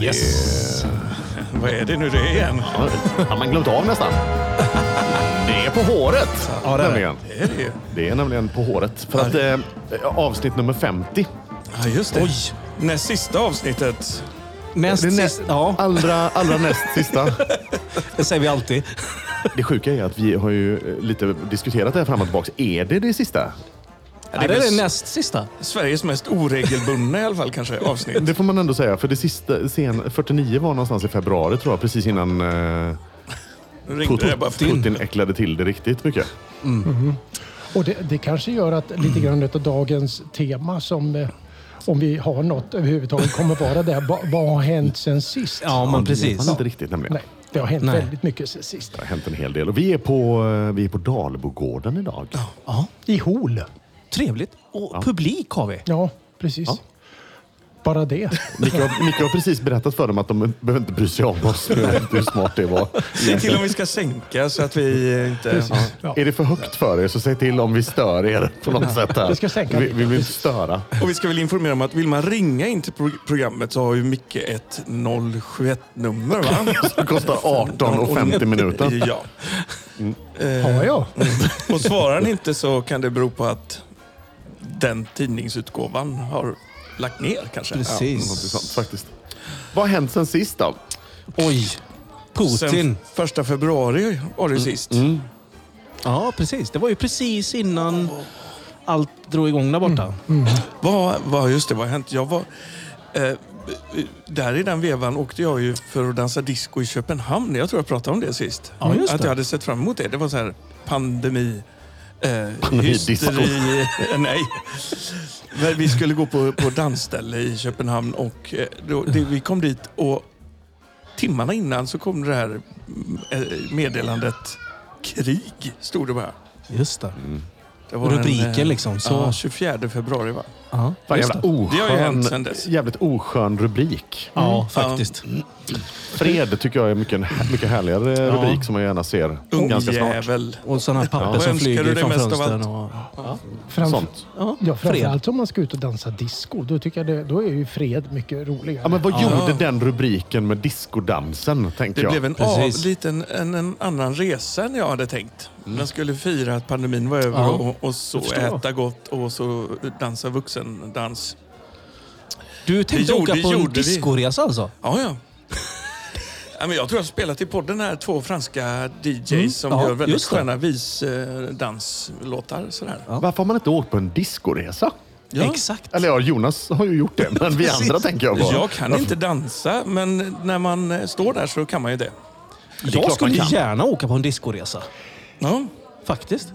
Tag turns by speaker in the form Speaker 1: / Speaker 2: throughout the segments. Speaker 1: Yes. Eh, Vad är det nu det är igen?
Speaker 2: Har man glömt av nästan? Det är på håret.
Speaker 1: Ja, det är det.
Speaker 2: nämligen.
Speaker 1: Det är det ju.
Speaker 2: Det är nämligen på håret. För att eh, avsnitt nummer 50.
Speaker 1: Ja, just det. Oj. Näst sista avsnittet.
Speaker 3: Näst
Speaker 2: Det är
Speaker 3: sist,
Speaker 2: näst,
Speaker 3: ja,
Speaker 2: allra, allra näst sista.
Speaker 3: det säger vi alltid.
Speaker 2: Det sjuka är att vi har ju eh, lite diskuterat det här fram och tillbaka. Är det det sista?
Speaker 3: Ja, det är
Speaker 1: väl
Speaker 3: det
Speaker 1: s-
Speaker 3: näst sista.
Speaker 1: Sveriges mest oregelbundna i alla fall kanske avsnitt.
Speaker 2: Det får man ändå säga. För det sista, sen 49 var någonstans i februari tror jag. Precis innan eh,
Speaker 1: Nu ringde det bara
Speaker 2: Putin,
Speaker 1: för din.
Speaker 2: Putin äcklade till det riktigt mycket.
Speaker 4: Och det, det kanske gör att lite grann av dagens tema som eh, om vi har något överhuvudtaget kommer vara där. Va, vad har hänt sen sist?
Speaker 3: Ja, men
Speaker 2: Det vet
Speaker 3: precis.
Speaker 2: man inte riktigt nämligen.
Speaker 4: Nej, det har hänt
Speaker 3: Nej.
Speaker 4: väldigt mycket sen sist.
Speaker 2: Det har hänt en hel del. Och vi är på, eh, vi är på Dalbogården idag.
Speaker 3: Ja,
Speaker 4: I Hol.
Speaker 3: trevligt. Och publik har vi.
Speaker 4: Ja, precis.
Speaker 2: Ja.
Speaker 4: Bara det.
Speaker 2: Micke har, Micke har precis berättat för dem att de behöver inte bry sig om oss. Jag vet inte hur smart det var.
Speaker 1: Säg till om vi ska sänka så att vi inte... Ja.
Speaker 4: Precis. Ja.
Speaker 2: Är det för högt för er så säg till om vi stör er på något sätt. Här.
Speaker 4: Jag ska sänka
Speaker 2: vi,
Speaker 4: lite.
Speaker 2: vi vill inte störa.
Speaker 1: Och vi ska väl informera om att vill man ringa in till pro- programmet så har ju Micke ett 071-nummer va?
Speaker 2: Det kostar 18 och 50 minuter.
Speaker 1: Ja.
Speaker 4: Har jag?
Speaker 2: Mm.
Speaker 1: Och svarar han inte så kan det bero på att den tidningsutgåvan har lagt ner kanske.
Speaker 3: Precis.
Speaker 2: Intressant faktiskt. Vad har hänt sen sist då?
Speaker 3: Oj,
Speaker 1: Sen
Speaker 3: Putin. Mm,
Speaker 1: f- första februari var det sist.
Speaker 3: Ja, precis. Det var ju precis innan allt drog igång där borta.
Speaker 1: Vad, vad, just det, vad har hänt? Jag var, eh, där i den vevan åkte jag ju för att dansa disco i Köpenhamn. Jag tror jag pratade om det sist.
Speaker 3: Ja, just
Speaker 1: att
Speaker 3: det.
Speaker 1: jag hade sett fram emot det. Det var så här pandemi... Eh,
Speaker 2: Pandemidisco.
Speaker 1: hysteri- eh, Nej. Men vi skulle gå på, på dansställe i Köpenhamn och eh, då, det, vi kom dit och timmarna innan så kom det här mm, eh, meddelandet krig, stod det bara.
Speaker 3: Just det.
Speaker 1: Det
Speaker 3: Rubriken
Speaker 1: eh,
Speaker 3: liksom, så-
Speaker 1: Ja, 24 februari va?
Speaker 3: Ja,
Speaker 2: Fan,
Speaker 3: just
Speaker 2: jävla
Speaker 3: det.
Speaker 1: Det har ju hänt
Speaker 2: oskön,
Speaker 1: sen dess.
Speaker 2: jävligt oskön rubrik.
Speaker 3: ja faktiskt.
Speaker 2: Fred tycker jag är mycket, en hä- mycket härligare rubrik som jag gärna ser ganska snart.
Speaker 1: Ungjävel.
Speaker 3: Och sådana här papper
Speaker 1: Vad
Speaker 3: som
Speaker 1: önskar du
Speaker 3: flyger
Speaker 1: dig
Speaker 3: från
Speaker 1: mest av
Speaker 3: fönstren.
Speaker 1: allt?
Speaker 3: Och,
Speaker 4: Framf-
Speaker 2: Sånt.
Speaker 3: ja,
Speaker 4: Ja,
Speaker 3: fred.
Speaker 4: framförallt om man ska ut och dansa disco. Då, tycker jag det, då är ju fred mycket roligare.
Speaker 2: Ja, men vad gjorde den rubriken med discodansen, tänker
Speaker 1: Det
Speaker 2: jag?
Speaker 1: blev en
Speaker 3: precis. Mm.
Speaker 1: av, liten, en, en annan resa än jag hade tänkt. Man skulle fira att pandemin var över
Speaker 3: Ja,
Speaker 1: och, och så
Speaker 3: förstår jag.
Speaker 1: äta gott och så dansa vuxendans.
Speaker 3: Du tänkte
Speaker 1: gjorde-
Speaker 3: åka på en
Speaker 1: gjorde vi.
Speaker 3: discoresa alltså?
Speaker 1: Ja, ja. Ja, men jag tror jag har spelat i podden här två franska DJs som
Speaker 3: Mm. ja,
Speaker 1: gör väldigt
Speaker 3: just det.
Speaker 1: sköna visdanslåtar. Sådär.
Speaker 2: Varför har man inte åkt på en discoresa?
Speaker 1: Ja.
Speaker 3: Exakt.
Speaker 2: Eller ja, Jonas har ju gjort det, men vi
Speaker 3: Precis.
Speaker 2: andra tänker jag på.
Speaker 1: Jag kan inte dansa, men när man eh, står där så kan man ju det.
Speaker 2: klart man
Speaker 3: Jag skulle
Speaker 2: kan.
Speaker 3: gärna åka på en discoresa.
Speaker 1: Ja.
Speaker 3: Faktiskt.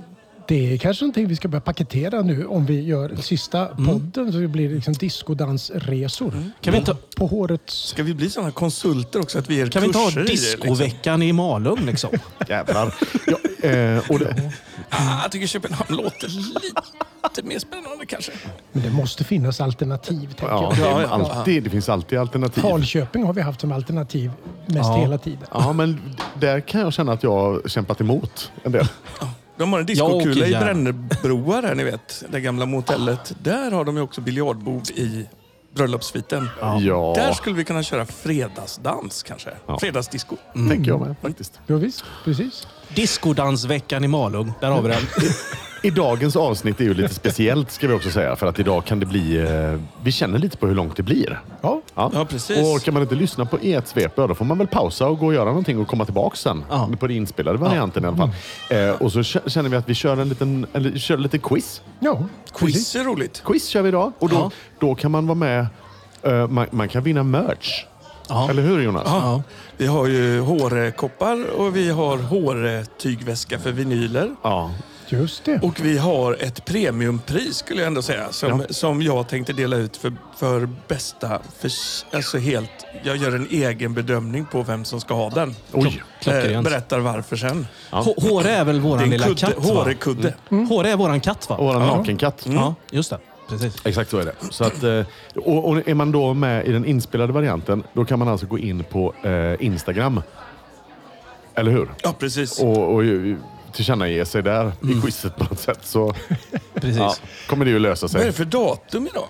Speaker 4: Det är kanske någonting vi ska börja paketera nu om vi gör sista
Speaker 2: Mm.
Speaker 4: podden så det blir liksom discodansresor.
Speaker 3: Kan vi inte-
Speaker 4: På hårets...
Speaker 1: Ska vi bli sådana konsulter också? Att vi ger
Speaker 3: Kan vi inte ha
Speaker 1: kurser i det, liksom?
Speaker 3: discoveckan i Malung liksom?
Speaker 2: Jävlar. Ja, eh, och det,
Speaker 1: Ah, jag tycker Köpenhamn låter lite mer spännande kanske.
Speaker 4: Men det måste finnas alternativ, tänker
Speaker 2: ja, det,
Speaker 4: jag.
Speaker 2: är
Speaker 1: Ja, ja.
Speaker 2: alltid, det finns alltid alternativ.
Speaker 4: Falköping har vi haft som alternativ mest
Speaker 3: Ja.
Speaker 4: hela tiden.
Speaker 2: Ja, men där kan jag känna att jag har kämpat emot en del.
Speaker 1: De har en
Speaker 3: Jag åker
Speaker 1: diskokula i
Speaker 3: gärna.
Speaker 1: Brännebroa där ni vet. Det gamla motellet. Där har de ju också biljardbord i bröllopssviten.
Speaker 2: Ja.
Speaker 1: Där skulle vi kunna köra fredagsdans kanske.
Speaker 2: Ja.
Speaker 1: Fredagsdisco.
Speaker 3: Mm.
Speaker 2: Tänker jag med faktiskt.
Speaker 4: Ja, visst, precis.
Speaker 3: Discodansveckan i Malung. Där har vi den.
Speaker 2: I dagens avsnitt är ju lite speciellt ska vi också säga. För att idag kan det bli... Eh, vi känner lite på hur långt det blir.
Speaker 4: Ja.
Speaker 1: Ja, precis.
Speaker 2: Och orkar man inte lyssna på ett svep, ja, då får man väl pausa och gå och göra någonting och komma tillbaka sen.
Speaker 3: Ja.
Speaker 2: På den inspelade varianten i alla fall. Eh, och så kä- känner vi att vi kör en liten, eller, kör lite quiz.
Speaker 4: ja precis.
Speaker 1: Quiz är roligt.
Speaker 2: Quiz kör vi idag. Och då,
Speaker 3: Ja.
Speaker 2: då kan man vara med. Eh, man, man kan vinna merch.
Speaker 3: Ja.
Speaker 2: Eller hur Jonas?
Speaker 1: Ja. Vi har ju hårkoppar och vi har hårtygväska för vinyler.
Speaker 2: Ja.
Speaker 4: Just det.
Speaker 1: Och vi har ett premiumpris skulle jag ändå säga. Som, som jag tänkte dela ut för, för bästa... För, alltså helt... Jag gör en egen bedömning på vem som ska ha den.
Speaker 2: Oj.
Speaker 3: Klockrent.
Speaker 1: berättar varför sen.
Speaker 3: H- Håre är väl
Speaker 1: Det
Speaker 3: våran
Speaker 1: är en
Speaker 3: lilla
Speaker 1: Eh, kudde,
Speaker 3: katt? va?
Speaker 1: hårekudde.
Speaker 3: Mm. Håre är våran katt va?
Speaker 2: Och vår nakenkatt.
Speaker 3: Ja, just det. Precis.
Speaker 2: Exakt så är det. Så att, eh, och, och är man då med i den inspelade varianten, då kan man alltså gå in på eh, Instagram. Eller hur?
Speaker 1: Ja, precis.
Speaker 2: Och, och ju- tillkännage sig där i quizet på något sätt. Så
Speaker 3: Precis.
Speaker 2: ja, kommer det ju lösa
Speaker 1: Vad är
Speaker 2: sig.
Speaker 1: det för datum idag?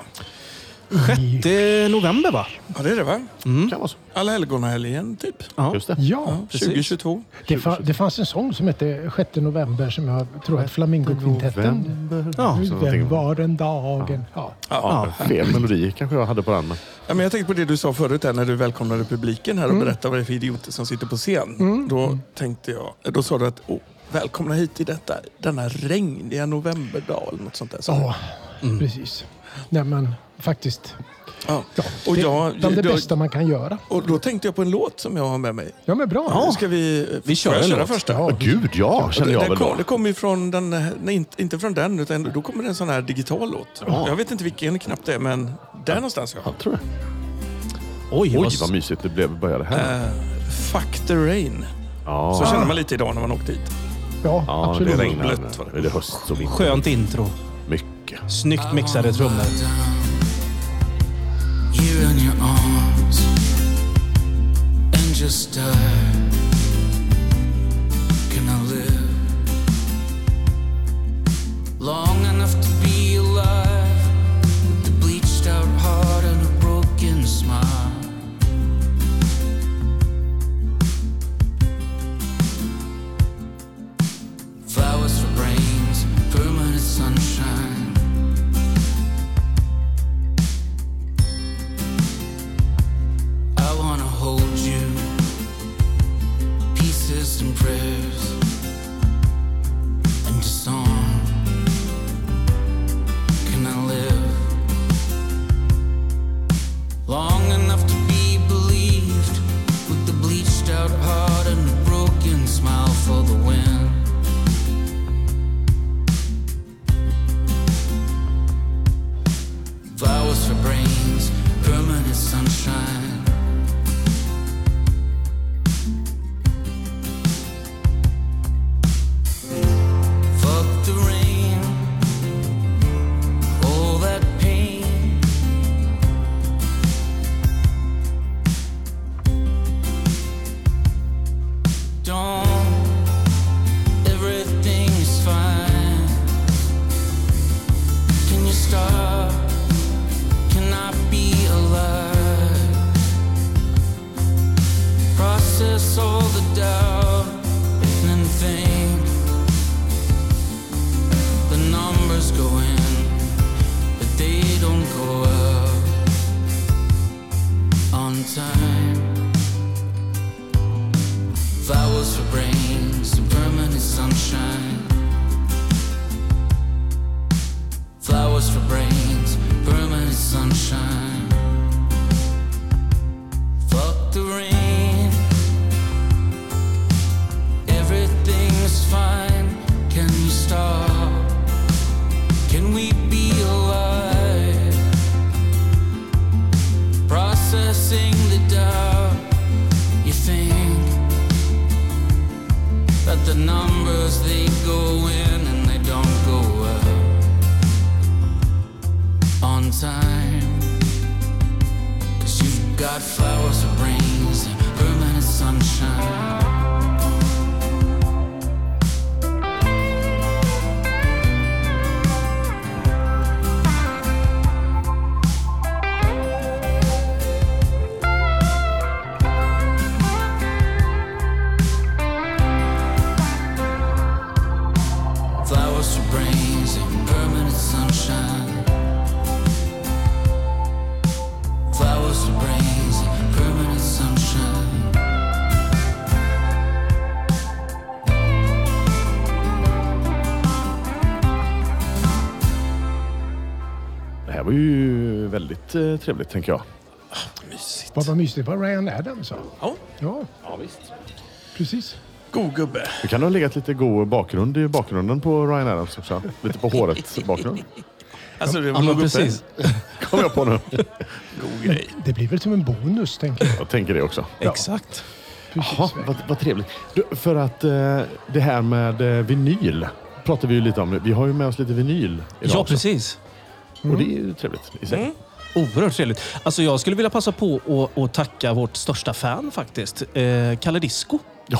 Speaker 4: i...
Speaker 3: 6 november va?
Speaker 1: Ja, det är det va?
Speaker 2: Mm. Kan vara så.
Speaker 1: Allhelgonahelgen typ.
Speaker 3: Ja.
Speaker 2: Just det.
Speaker 1: Ja,
Speaker 4: Ja,
Speaker 1: 2022.
Speaker 4: det, fa- det fanns en sång som hette 6 november som jag tror att Flamingokvintetten...
Speaker 3: Ja,
Speaker 2: Så någonting.
Speaker 4: Den var den dagen. Ja.
Speaker 2: Ja, fel melodi kanske jag hade på den. Men
Speaker 1: Ja, men jag tänkte på det du sa förut där, när du välkomnade publiken här och
Speaker 3: Mm.
Speaker 1: berättade vad det är för idioter som sitter på scen. Då tänkte jag, då sa du att "Åh, välkomna hit till detta, denna regniga novemberdag eller något sånt där. Så,
Speaker 4: Ja, precis. Nej men faktiskt.
Speaker 1: ja.
Speaker 4: Ja,
Speaker 1: Och,
Speaker 4: det är
Speaker 1: jag,
Speaker 4: bland det
Speaker 1: då,
Speaker 4: bästa man kan göra.
Speaker 1: och då tänkte jag på en låt som jag har med mig.
Speaker 4: Ja men bra.
Speaker 1: Nu Ska vi,
Speaker 3: Vi kör
Speaker 1: får jag
Speaker 3: en
Speaker 1: köra
Speaker 3: låt.
Speaker 1: första?
Speaker 4: Ja.
Speaker 2: gud, ja, känner
Speaker 1: Det,
Speaker 2: jag
Speaker 1: det,
Speaker 2: väl då.
Speaker 1: kom, det kommer ju från den, eh, nej inte- inte från den, utan då kommer det en sån här digital låt. Jag vet inte vilken knappt det är, men där någonstans. Ja.
Speaker 2: Ja, tror jag.
Speaker 3: Oj,
Speaker 2: Oj, vad
Speaker 3: vad...
Speaker 2: mysigt det blev började här.
Speaker 1: Eh, Fuck the rain.
Speaker 2: Ja,
Speaker 1: Så känner man lite idag när man åkte hit.
Speaker 4: Ja,
Speaker 2: ja det
Speaker 4: absolut.
Speaker 2: regnar.
Speaker 1: Blött var det.
Speaker 2: Eller höst och vinter.
Speaker 3: Skönt intro.
Speaker 2: Mycket.
Speaker 3: Snyggt mixade trummor.
Speaker 5: you in your arms and just die. Can I live long enough to be alive with the bleached out heart and a broken smile? Flowers for brains, permanent sunshine. I wanna hold you. Pieces and prayers and disarm. Can I live long enough to be believed with the bleached out heart and a broken smile for the wind? Flowers for brains, permanent sunshine. Fuck the rain, all that pain. Dawn, everything is fine. Can you stop? Can I be alive? Process all the doubt and then think the numbers go in, but they don't go out on time. Flowers for brains and permanent sunshine. Flowers for brains, permanent sunshine. Fuck the rain. Everything's fine. Can you stop? Can we be alive? Processing the doubt. You think that the numbers they go in and they don't go out on time. Cause you've got flowers of brains and permanent sunshine. Flowers for brains and permanent sunshine. Flowers for brains and permanent sunshine.
Speaker 2: Det här var ju väldigt eh, trevligt, tänker jag.
Speaker 1: Mysigt.
Speaker 4: Vad var mysigt. Det var Ryan Adams va?
Speaker 1: Ja.
Speaker 4: Ja,
Speaker 2: Ja, visst.
Speaker 4: precis.
Speaker 1: God gubbe.
Speaker 2: Det kan ha legat lite god bakgrund i bakgrunden på Ryan Adams också. Lite på håret-bakgrund.
Speaker 1: Alltså, det var
Speaker 3: Ja, men
Speaker 1: nog uppe.
Speaker 3: precis.
Speaker 2: Kom jag på nu.
Speaker 1: God grej.
Speaker 4: Det blir väl som en bonus tänker jag.
Speaker 2: Jag tänker det också.
Speaker 3: Exakt.
Speaker 2: Jaha, vad, vad trevligt. Du, för att eh, det här med eh, vinyl pratar vi ju lite om nu. Vi har ju med oss lite vinyl idag
Speaker 3: Ja,
Speaker 2: också.
Speaker 3: precis.
Speaker 2: Och det är ju trevligt i sig.
Speaker 3: Oerhört trevligt. Alltså jag skulle vilja passa på att- att tacka vårt största fan faktiskt, eh, Kalle Disco,
Speaker 2: Ja,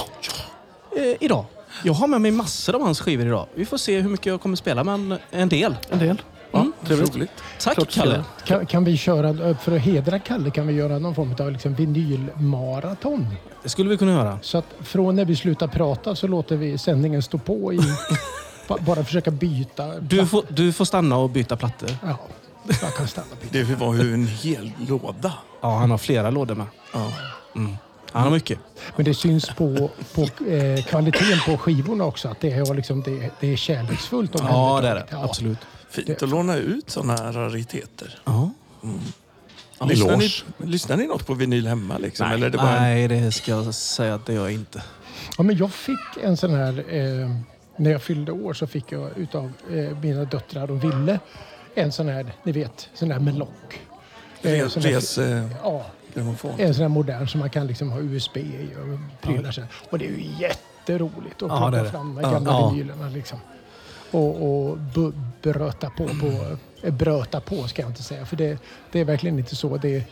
Speaker 3: eh, idag. Jag har med mig massor av hans skivor idag. Vi får se hur mycket jag kommer spela, men en del.
Speaker 2: en del. Ja. Trevligt.
Speaker 1: Roligt.
Speaker 3: Tack
Speaker 2: Klart ska
Speaker 3: Kalle.
Speaker 2: jag.
Speaker 4: Kan, kan vi köra, eh, för att hedra Kalle kan vi göra någon form av liksom vinylmaraton.
Speaker 3: Det skulle vi kunna göra.
Speaker 4: Så att från när vi slutar prata så låter vi sändningen stå på i... ba- bara försöka byta.
Speaker 3: Du får, du får stanna och byta plattor.
Speaker 4: Ja, jag kan stanna och byta.
Speaker 1: Det var ju en hel låda.
Speaker 3: Ja, han har flera lådor med. Mm.
Speaker 1: Ja.
Speaker 3: Han har mycket.
Speaker 4: Men det syns på, på eh, kvaliteten på skivorna också att det är, liksom, det, det är kärleksfullt.
Speaker 3: Ja, det är det.
Speaker 4: omhändertaget. Ja.
Speaker 3: Absolut.
Speaker 1: Fint att låna ut sådana här rariteter.
Speaker 3: Ja.
Speaker 1: Ja, lyssnar, ni,
Speaker 2: Eloge.
Speaker 1: lyssnar ni något på vinyl hemma? Liksom? Eller är det bara en-
Speaker 3: Nej, det ska jag säga att det gör jag inte.
Speaker 4: Ja, men jag fick en sån här... Eh, när jag fyllde år så fick jag utav eh, mina döttrar och Ville en sån här, ni vet, sån här med lock. Eh,
Speaker 1: res,
Speaker 4: sån här-
Speaker 1: res, eh,
Speaker 4: Ja,
Speaker 1: grammofon?
Speaker 4: en sån här modern som man kan liksom ha USB i och prylar sig. Och det är ju jätteroligt
Speaker 3: Ja,
Speaker 4: att
Speaker 3: det är
Speaker 4: plocka
Speaker 3: det.
Speaker 4: fram de
Speaker 3: Ja,
Speaker 4: gamla
Speaker 3: ja.
Speaker 4: vinylerna liksom. Och, och bu- bröta på, på eh, bröta på ska jag inte säga för det, det är verkligen inte så. Det,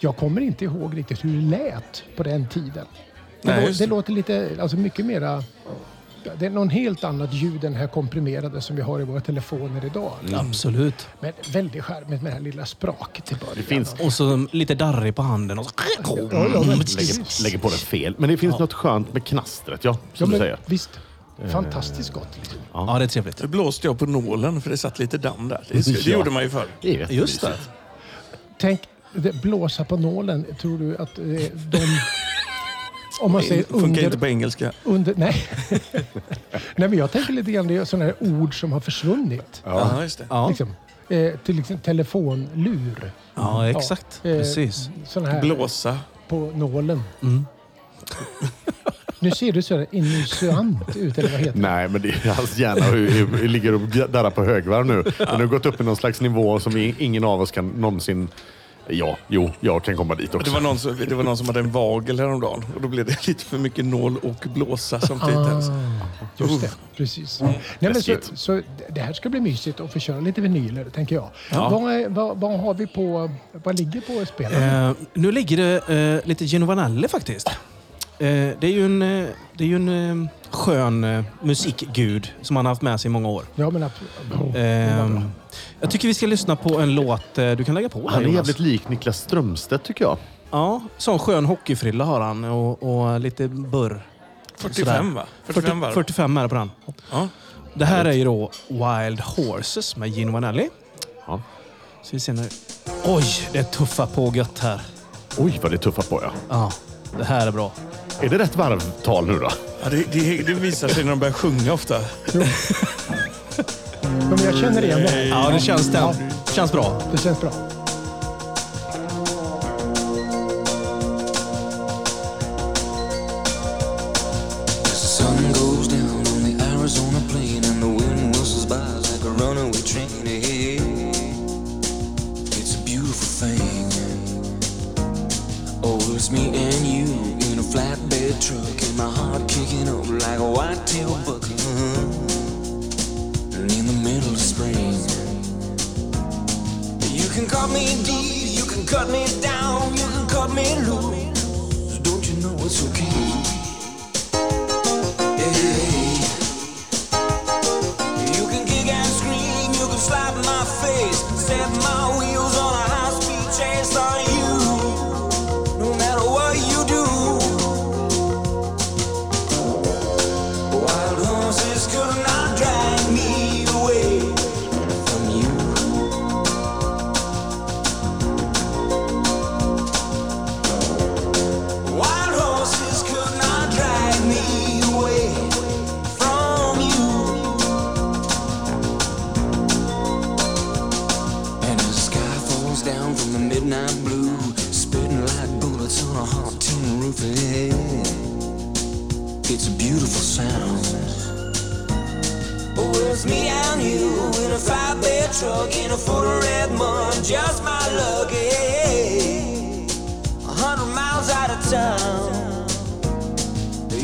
Speaker 4: jag kommer inte ihåg riktigt hur det lät på den tiden. Det,
Speaker 1: Nej,
Speaker 4: lå-
Speaker 1: just
Speaker 4: det
Speaker 1: det.
Speaker 4: låter lite, alltså mycket mera det är någon helt annat ljud än det här komprimerade som vi har i våra telefoner idag.
Speaker 3: Mm. Absolut.
Speaker 4: Men väldigt charmigt med det här lilla spraket i början.
Speaker 2: Det finns
Speaker 3: Och så lite darrig på handen. Och så... Mm.
Speaker 4: Ja, ja, men-
Speaker 2: Lägger, lägger på det fel. Men det finns något skönt med knastret, ja. Som
Speaker 4: Ja,
Speaker 2: du
Speaker 4: men
Speaker 2: säger.
Speaker 4: Visst.
Speaker 1: Eh,
Speaker 4: Fantastiskt gott. Liksom.
Speaker 3: Ja, det är trevligt.
Speaker 1: Så blåste jag på nålen för det satt lite damm där. Det,
Speaker 2: Ja.
Speaker 1: det gjorde man ju förr.
Speaker 2: Det är jättemysigt.
Speaker 3: Just det.
Speaker 4: Tänk, det, blåsa på nålen. Tror du att eh, de... Om man säger
Speaker 1: Det funkar inte
Speaker 4: under...
Speaker 1: på engelska.
Speaker 4: under nej. nej, men jag tänker lite grann det är sådana här ord som har försvunnit.
Speaker 1: Ja. Aha, just det.
Speaker 3: Ja,
Speaker 4: Liksom. Eh, till exempel telefonlur.
Speaker 3: ja exakt.
Speaker 4: Ja, eh,
Speaker 3: Precis.
Speaker 4: Sån här
Speaker 1: Blåsa.
Speaker 4: på nålen.
Speaker 1: Mm.
Speaker 4: nu ser du så här insinuant ut, eller vad heter det?
Speaker 2: Nej, men det är hans hjärna hur- hur- hur ligger och darrar på högvarv nu. Den har gått upp i någon slags nivå som vi, ingen av oss kan någonsin... Ja, jo, jag kan komma dit
Speaker 1: Det
Speaker 2: också.
Speaker 1: var, någon som, det var någon som hade en vagel häromdagen och då blev det lite för mycket nål och blåsa samtidigt. Alltså.
Speaker 4: Just det, precis. Nej, men så,
Speaker 2: Läskigt.
Speaker 4: så det här ska bli mysigt att få köra lite vinyler, tänker jag. Vad, är- vad, vad har vi på... Vad ligger på spelaren?
Speaker 3: Eh, nu ligger det eh, lite Genovanelli faktiskt. Eh, det är ju en, eh, det är ju en eh, skön eh, musikgud som han har haft med sig i många år.
Speaker 4: Ja, men absolut. Oh,
Speaker 2: Eh.
Speaker 4: det var bra.
Speaker 3: Ehm, jag tycker vi ska lyssna på en låt eh, du kan lägga på. här,
Speaker 2: Han är
Speaker 3: Jonas.
Speaker 2: jävligt lik Niklas Strömstedt tycker jag.
Speaker 3: Ja, sån skön hockeyfrilla har han och, och lite burr.
Speaker 1: 45 va? 45 varv.
Speaker 3: 45 är det på den.
Speaker 1: Ja.
Speaker 3: Det här är ju då Wild Horses med Gino Vanelli.
Speaker 2: Ja.
Speaker 3: Så vi ser nu. Oj, det tuffa pågött här.
Speaker 2: Oj, vad det tuffar på ja.
Speaker 3: Ja, det här är bra.
Speaker 2: Är det rätt varvtal nu då?
Speaker 1: Ja, det, det, det visar sig när de börjar sjunga ofta.
Speaker 4: Ja, men jag känner igen det. här.
Speaker 3: Ja, det känns, den. känns bra.
Speaker 2: Eh.
Speaker 4: Det känns bra.
Speaker 6: As the sun goes down on the Arizona plain and the wind whistles by like a runaway train. Hey, it's a beautiful thing. Oh, it's me and you in a flatbed truck and my heart kicking up like a whitetail buck. And in the middle of spring. You can cut me deep, you can cut me down, you can cut me loose. Don't you know it's okay? You can kick and scream, you can slap my face, set my wheels on a high speed chase on you. No matter what you do, wild horses could not drag me away from you. Wild horses could not drag me away from you. And the sky falls down from the midnight blue, spitting like bullets on a hot tin roof. Yeah. It's a beautiful sound. Oh, it's me and you in a five-bed truck in a foot of red mud, just my luck. Yeah a hundred miles out of town.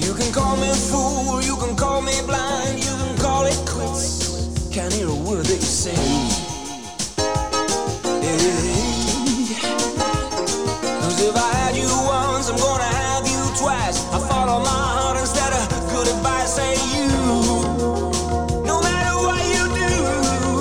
Speaker 6: You can call me a fool, you can call me blind, you can call it quits. Can't hear a word that you say. Yeah. 'Cause if I had you once, I'm gonna have you twice. I follow my heart instead of good advice. Say you, no matter what you do, do.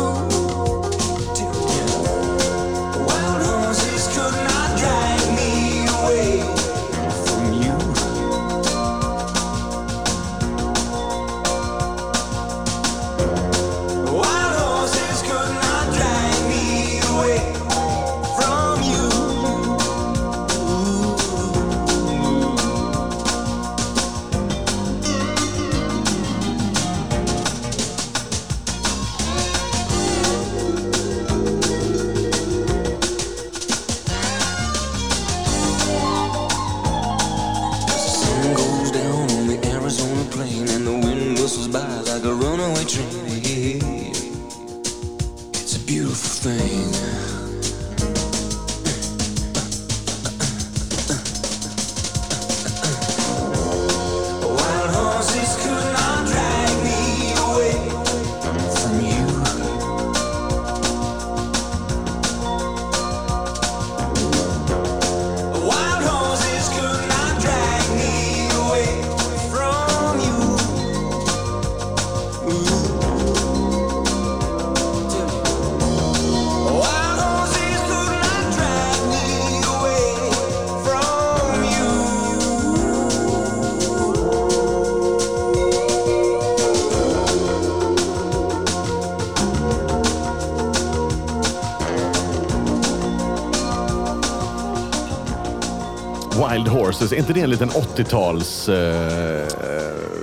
Speaker 2: Wild Horses, är inte det en liten 80-tals eh,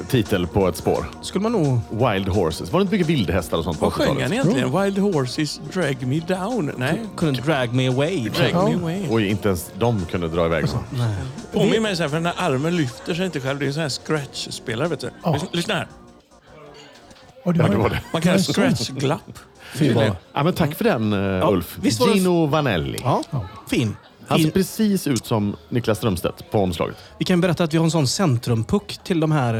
Speaker 2: titel på ett spår?
Speaker 3: Skulle man nog...
Speaker 2: Wild Horses. Var det inte mycket vildhästar och sånt på
Speaker 1: Vad sjöng
Speaker 2: 80-talet?
Speaker 1: han egentligen? Wild Horses Drag Me Down? Nej.
Speaker 3: Kunde drag me away.
Speaker 1: Drag
Speaker 4: Ja.
Speaker 1: Me Away.
Speaker 2: Oj, inte ens de kunde dra iväg så.
Speaker 1: Påminn mig sen, för den här armen lyfter sig inte själv. Det är en sån här scratch-spelare, vet du.
Speaker 4: Ja.
Speaker 1: Lyssna, lyssna här.
Speaker 4: Och
Speaker 2: Ja, det var det.
Speaker 1: Man kallar det scratch-glapp.
Speaker 3: Fy vad-
Speaker 2: Ja, men tack för den, eh, Ulf.
Speaker 3: visst var det-
Speaker 2: Gino Vanelli.
Speaker 3: Ja, fin.
Speaker 2: Han ser
Speaker 3: fin.
Speaker 2: precis ut som Niklas Strömstedt på omslaget.
Speaker 3: Vi kan berätta att vi har en sån centrumpuck till de här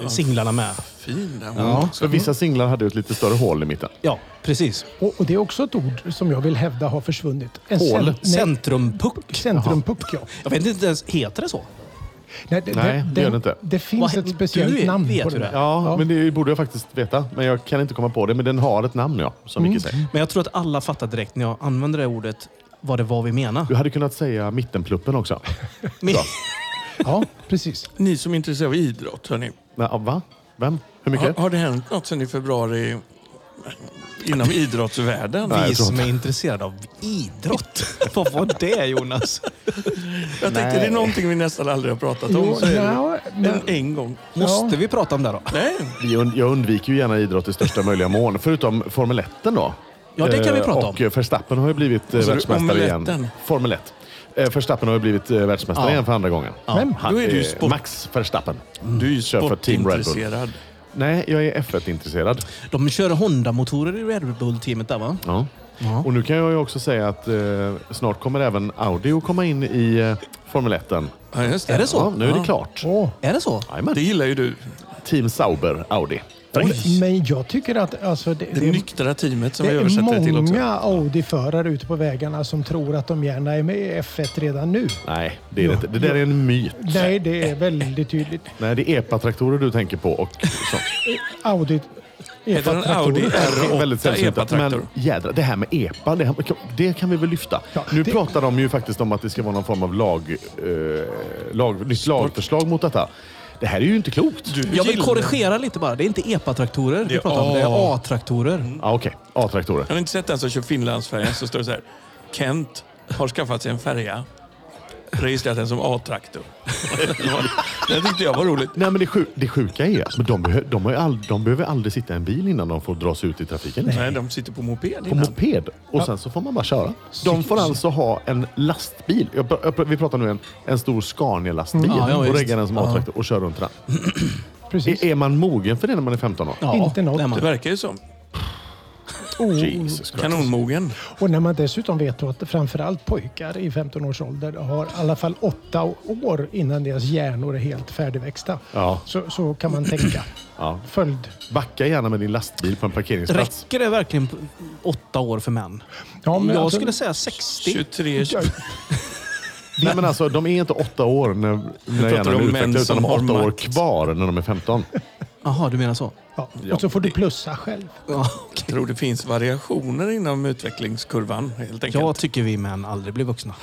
Speaker 3: eh, singlarna med.
Speaker 1: Fin den var
Speaker 3: Ja.
Speaker 2: För vissa singlar hade ju ett lite större hål i mitten.
Speaker 3: Ja, precis.
Speaker 4: Och, och det är också ett ord som jag vill hävda har försvunnit. En
Speaker 2: Hål.
Speaker 4: cen- nej,
Speaker 3: Centrumpuck.
Speaker 4: Centrumpuck, ja.
Speaker 3: Jag vet inte ens, heter det så?
Speaker 4: Nej, det,
Speaker 2: Nej, det gör det inte.
Speaker 4: Det finns
Speaker 3: Vad-
Speaker 4: ett speciellt
Speaker 3: du
Speaker 4: namn
Speaker 3: vet
Speaker 4: på
Speaker 3: ju
Speaker 4: det.
Speaker 3: det.
Speaker 4: där.
Speaker 2: Ja, men det borde jag faktiskt veta. Men jag kan inte komma på det. Men den har ett namn, ja. Som
Speaker 3: Mm.
Speaker 2: Micke säger.
Speaker 3: Men jag tror att alla fattar direkt när jag använder det ordet vad det var vi menade.
Speaker 2: Du hade kunnat säga mittenpluppen också.
Speaker 3: Men,
Speaker 4: Ja, precis.
Speaker 1: Ni som är intresserade av idrott, hörni.
Speaker 2: Nej, ja, ah, va? Vem? Hur mycket?
Speaker 1: Har, har det hänt något sen i februari inom idrottsvärlden?
Speaker 2: Nej,
Speaker 3: vi
Speaker 2: jag tror
Speaker 3: som
Speaker 2: inte.
Speaker 3: är intresserade av idrott. vad var det Jonas?
Speaker 1: Jag tänkte, det är någonting vi nästan aldrig har pratat om.
Speaker 4: Jo,
Speaker 1: Så är
Speaker 4: ja,
Speaker 1: det
Speaker 4: men-
Speaker 1: en, en gång.
Speaker 3: Måste vi prata om det då?
Speaker 1: Nej,
Speaker 2: Vi und- Jag undviker ju gärna idrott i största möjliga mån, förutom Formel 1 då.
Speaker 3: Ja, det kan vi
Speaker 2: Eh,
Speaker 3: prata
Speaker 2: Och
Speaker 3: om. Alltså,
Speaker 2: eh, Verstappen har ju blivit eh,
Speaker 1: sa du?
Speaker 2: världsmästare igen.
Speaker 1: Omeletten?
Speaker 2: Formel 1. Eh, Verstappen har ju blivit eh, världsmästare
Speaker 3: Ja.
Speaker 2: igen för andra gången.
Speaker 4: Vem?
Speaker 2: Han
Speaker 1: Då är du ju
Speaker 2: eh,
Speaker 1: sport-
Speaker 2: Max Verstappen.
Speaker 1: du är ju
Speaker 2: Kör för Team Red Bull.
Speaker 1: sportintresserad.
Speaker 2: Nej, jag är F1-intresserad.
Speaker 3: De kör Honda-motorer i Red Bull-teamet där va?
Speaker 2: Ja. Och nu kan jag ju också säga att eh, snart kommer även Audi att komma in i eh, Formel 1.
Speaker 1: Ja, just
Speaker 3: Är det så?
Speaker 2: Ja, nu är det
Speaker 1: Ja.
Speaker 2: klart.
Speaker 4: Åh.
Speaker 3: Är det så?
Speaker 2: Jajamän.
Speaker 1: Det gillar ju du.
Speaker 2: Team Sauber Audi.
Speaker 4: Men jag tycker att alltså, det,
Speaker 1: Det
Speaker 4: det,
Speaker 1: nyktra teamet som
Speaker 4: det
Speaker 1: vi
Speaker 4: är
Speaker 1: översätter det till också.
Speaker 4: många Audi-förare ute på vägarna som tror att de gärna är med i F1 redan nu.
Speaker 2: Nej, det är det inte. Det där är en myt.
Speaker 4: Nej, det är väldigt tydligt.
Speaker 2: Nej, det är EPA-traktorer du tänker på. Och sånt.
Speaker 4: Audi...
Speaker 1: Är det en Audi
Speaker 2: Det är väldigt
Speaker 1: R8
Speaker 2: sällsynt.
Speaker 1: EPA-traktor?
Speaker 2: Men jädra, det här med EPA, det, här, det kan vi väl lyfta.
Speaker 4: Ja,
Speaker 2: nu
Speaker 4: det-
Speaker 2: pratar de ju faktiskt om att det ska vara någon form av lag, eh, lag, nytt lagförslag mot detta. Det här är ju inte klokt.
Speaker 1: Du
Speaker 3: Jag vill
Speaker 1: gillar-
Speaker 3: korrigera lite bara. Det är inte EPA-traktorer vi
Speaker 1: Det-
Speaker 3: pratar om. Det är
Speaker 1: Åh.
Speaker 3: A-traktorer.
Speaker 2: Ja, Ah, Okej, A-traktorer.
Speaker 1: Har ni inte sett den som kör Finlandsfärjan så står det så här. Kent har skaffat sig en färja. Registrerat den som A-traktor. det tyckte jag var roligt.
Speaker 2: Nej, men det, sju, det sjuka är att de, behö, de, har ju all, de behöver aldrig sitta i en bil innan de får dra sig ut i trafiken.
Speaker 1: Nej, de sitter på moped
Speaker 2: På
Speaker 1: innan.
Speaker 2: moped. Och sen så får man bara köra. De får alltså ha en lastbil. Jag, pr- jag, pr- vi pratar nu en, en stor Scania-lastbil.
Speaker 1: Mm,
Speaker 3: Ja, ja,
Speaker 2: och
Speaker 3: visst.
Speaker 2: regga den som
Speaker 3: Ja.
Speaker 2: A-traktor och köra runt den.
Speaker 4: Precis.
Speaker 2: Är, är man mogen för det när man är 15 år?
Speaker 3: Ja,
Speaker 4: Inte något. Oh.
Speaker 3: det är
Speaker 1: Det
Speaker 3: man.
Speaker 1: verkar ju som.
Speaker 2: Jesus Christ.
Speaker 1: Kanonmogen.
Speaker 4: Och när man dessutom vet då att framförallt pojkar i 15-årsåldern har i alla fall åtta år innan deras hjärnor är helt färdigväxta.
Speaker 2: Ja.
Speaker 4: Så, så kan man tänka.
Speaker 2: Ja.
Speaker 4: Följd.
Speaker 2: Backa gärna med din lastbil på en parkeringsplats.
Speaker 3: Räcker det verkligen på åtta år för män?
Speaker 4: Ja, men
Speaker 3: Jag
Speaker 4: alltså-
Speaker 3: skulle säga 60.
Speaker 1: 23,
Speaker 4: Ja,
Speaker 2: Nej, men alltså, de är inte åtta år när, när
Speaker 1: pratar
Speaker 2: hjärnan
Speaker 1: om
Speaker 2: är
Speaker 1: män
Speaker 2: utvecklad, utan
Speaker 1: som
Speaker 2: de är
Speaker 1: har
Speaker 2: åtta år
Speaker 1: makt.
Speaker 2: kvar när de är 15.
Speaker 3: Jaha, du menar så?
Speaker 4: ja. Och så får du plussa själv.
Speaker 3: Ja, okej.
Speaker 1: Jag tror det finns variationer inom utvecklingskurvan helt enkelt.
Speaker 3: Jag tycker vi män aldrig blir vuxna.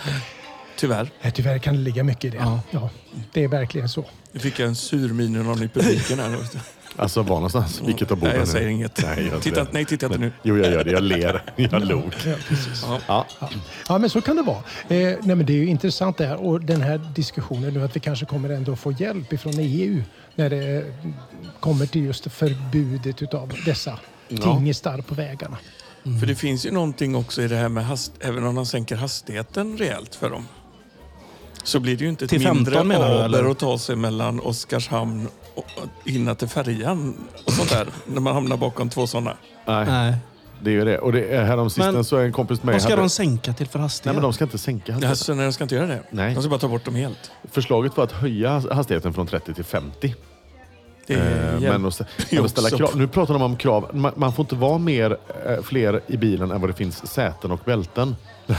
Speaker 1: Tyvärr.
Speaker 4: Nej, tyvärr kan det ligga mycket i det.
Speaker 3: Ja.
Speaker 4: Ja. det är verkligen så.
Speaker 1: Nu fick jag en sur min ur någon i publiken här. Mm.
Speaker 2: Alltså, var någonstans? Vilket av borden?
Speaker 1: Nej, jag
Speaker 2: är det?
Speaker 1: säger inget.
Speaker 2: Nej, jag
Speaker 1: titta, nej, titta inte nu.
Speaker 2: Jo, jag gör det. Jag ler. Jag log. Ja.
Speaker 4: Ja, men så kan det vara. Eh, nej, men det är ju intressant det här och den här diskussionen nu att vi kanske kommer ändå få hjälp ifrån EU när det eh, kommer till just förbudet utav dessa tingestar på vägarna.
Speaker 1: För det finns ju någonting också i det här med hast... Även om de sänker hastigheten rejält för dem. Så blir det ju inte ett
Speaker 3: Till 15
Speaker 1: mindre
Speaker 3: menar du,
Speaker 1: aber
Speaker 3: eller?
Speaker 1: att ta sig mellan Oskarshamn och och hinna till färjan och sånt där. när man hamnar bakom två sådana.
Speaker 2: Nej,
Speaker 3: Nej.
Speaker 2: det är ju det. Och det, häromsistens
Speaker 3: Men-
Speaker 2: så är en kompis med
Speaker 3: Vad ska
Speaker 2: hade-
Speaker 3: de sänka till för hastighet?
Speaker 2: Nej, men de ska inte sänka hastigheten.
Speaker 1: Alltså, nej, de ska inte göra det.
Speaker 2: Nej.
Speaker 1: De ska bara ta bort dem helt.
Speaker 2: Förslaget var att höja hastigheten från 30 till 50.
Speaker 1: Det är
Speaker 2: Eh,
Speaker 1: jävligt.
Speaker 2: Men att, stä- men att ställa
Speaker 1: också-
Speaker 2: krav. Nu pratar de om krav. Man, man får inte vara mer, eh, fler i bilen än vad det finns säten och bälten. Nej.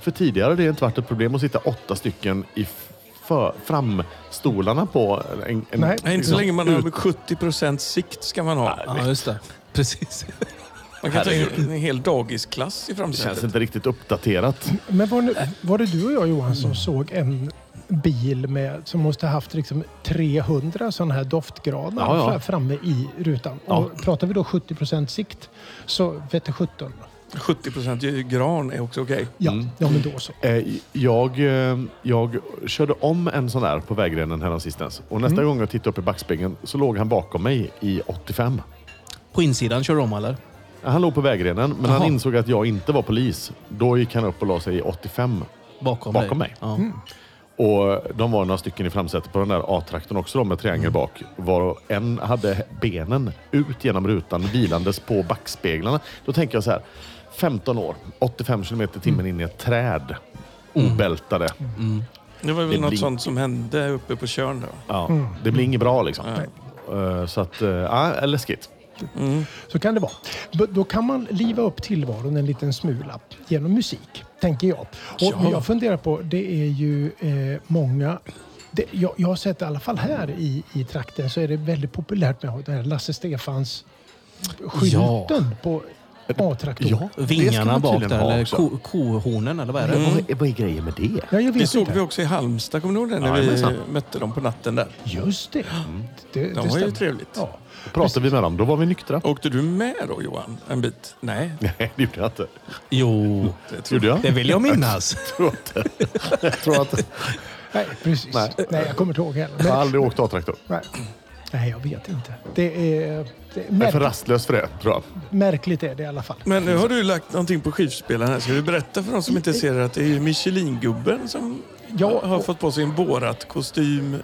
Speaker 2: För tidigare har det inte varit ett problem att sitta åtta stycken i f- för, framstolarna på en... en
Speaker 4: Nej.
Speaker 1: Nej, inte
Speaker 2: liksom
Speaker 1: så länge man har 70 procents sikt ska man ha.
Speaker 3: Ja, just det. Precis.
Speaker 1: Man kan ta in en hel dagisklass i
Speaker 2: Det känns
Speaker 1: framsätet.
Speaker 2: inte riktigt uppdaterat.
Speaker 4: Men var, nu, var det du och jag Johan
Speaker 2: Mm.
Speaker 4: som såg en bil med, som måste ha haft liksom 300 sådana här doftgranar
Speaker 2: Ja, ja.
Speaker 4: fra- framme i rutan?
Speaker 2: Ja.
Speaker 4: Och pratar vi då 70 sikt så vete sjutton.
Speaker 1: 70 gran är också okej.
Speaker 4: Ja,
Speaker 2: Mm.
Speaker 4: ja men då så.
Speaker 2: Eh, jag, eh, jag körde om en sån där på vägrenen häromsistens. Och
Speaker 3: Mm.
Speaker 2: nästa gång jag tittade upp i backspegeln så låg han bakom mig i 85.
Speaker 3: På insidan kör du om eller?
Speaker 2: Han låg på vägrenen, men
Speaker 3: Jaha.
Speaker 2: han insåg att jag inte var polis. Då gick han upp och la sig i 85.
Speaker 3: Bakom,
Speaker 2: Bakom mig.
Speaker 3: Ja.
Speaker 2: Och de var några stycken i framsätet på den där A-traktorn också då, med triangel
Speaker 3: Mm.
Speaker 2: bak. Var och en hade benen ut genom rutan vilandes på backspeglarna. Då tänker jag så här. 15 år, 85 kilometer i
Speaker 3: Mm.
Speaker 2: timmen in i ett träd. Obältade.
Speaker 1: Det var väl
Speaker 2: Det
Speaker 1: något
Speaker 2: blir-
Speaker 1: sånt som hände uppe på Tjörn. då.
Speaker 2: Ja,
Speaker 7: Mm.
Speaker 2: Det blir inget bra liksom. Eh, Så att, eh, ja, läskigt.
Speaker 4: Så kan det vara. B- Då kan man liva upp tillvaron en liten smula genom musik, tänker jag. Och men jag funderar på, det är ju eh, många... Det, jag, jag har sett i alla fall här i, i trakten så är det väldigt populärt med den här Lasse Stefans skylten på A-traktorn.
Speaker 2: Ja. Det ska
Speaker 3: Vingarna
Speaker 2: man
Speaker 3: bak
Speaker 2: tydligen
Speaker 3: där,
Speaker 2: ha
Speaker 3: eller
Speaker 2: också. Mm.
Speaker 3: ko, kohornen eller vad är det?
Speaker 7: Vad, är, vad är grejen med det?
Speaker 4: Ja, jag
Speaker 1: Det
Speaker 4: vet
Speaker 1: såg vi
Speaker 4: inte.
Speaker 1: också i Halmstad, kommer du ihåg det? När
Speaker 2: Jajamensan.
Speaker 1: vi mötte dem på natten där.
Speaker 4: Just det. det, det
Speaker 1: Mm. De var
Speaker 4: stämmer.
Speaker 1: ju trevligt.
Speaker 4: Ja.
Speaker 2: Pratade vi med dem, då var vi nyktra.
Speaker 1: Åkte du med då Johan? En bit? Nej,
Speaker 2: Nej, det gjorde jag inte.
Speaker 3: Jo,
Speaker 1: det tror
Speaker 2: Gjorde jag?
Speaker 3: det vill jag minnas.
Speaker 2: tror inte. Jag tror att
Speaker 4: Nej, precis. Nej.
Speaker 2: Nej.
Speaker 4: jag kommer inte ihåg heller.
Speaker 2: jag har
Speaker 4: Men,
Speaker 2: aldrig åkt A-traktor.
Speaker 4: nej. nej, jag vet inte. Det är, det är
Speaker 2: Jag är för
Speaker 4: märk,
Speaker 2: rastlös för det, tror jag.
Speaker 4: märkligt är det i alla fall.
Speaker 1: Men nu har du lagt någonting på skivspelaren här. Ska du berätta för de som inte ser det att det är ju Michelin-gubben som
Speaker 4: Ja,
Speaker 1: har fått på sig en Borat-kostym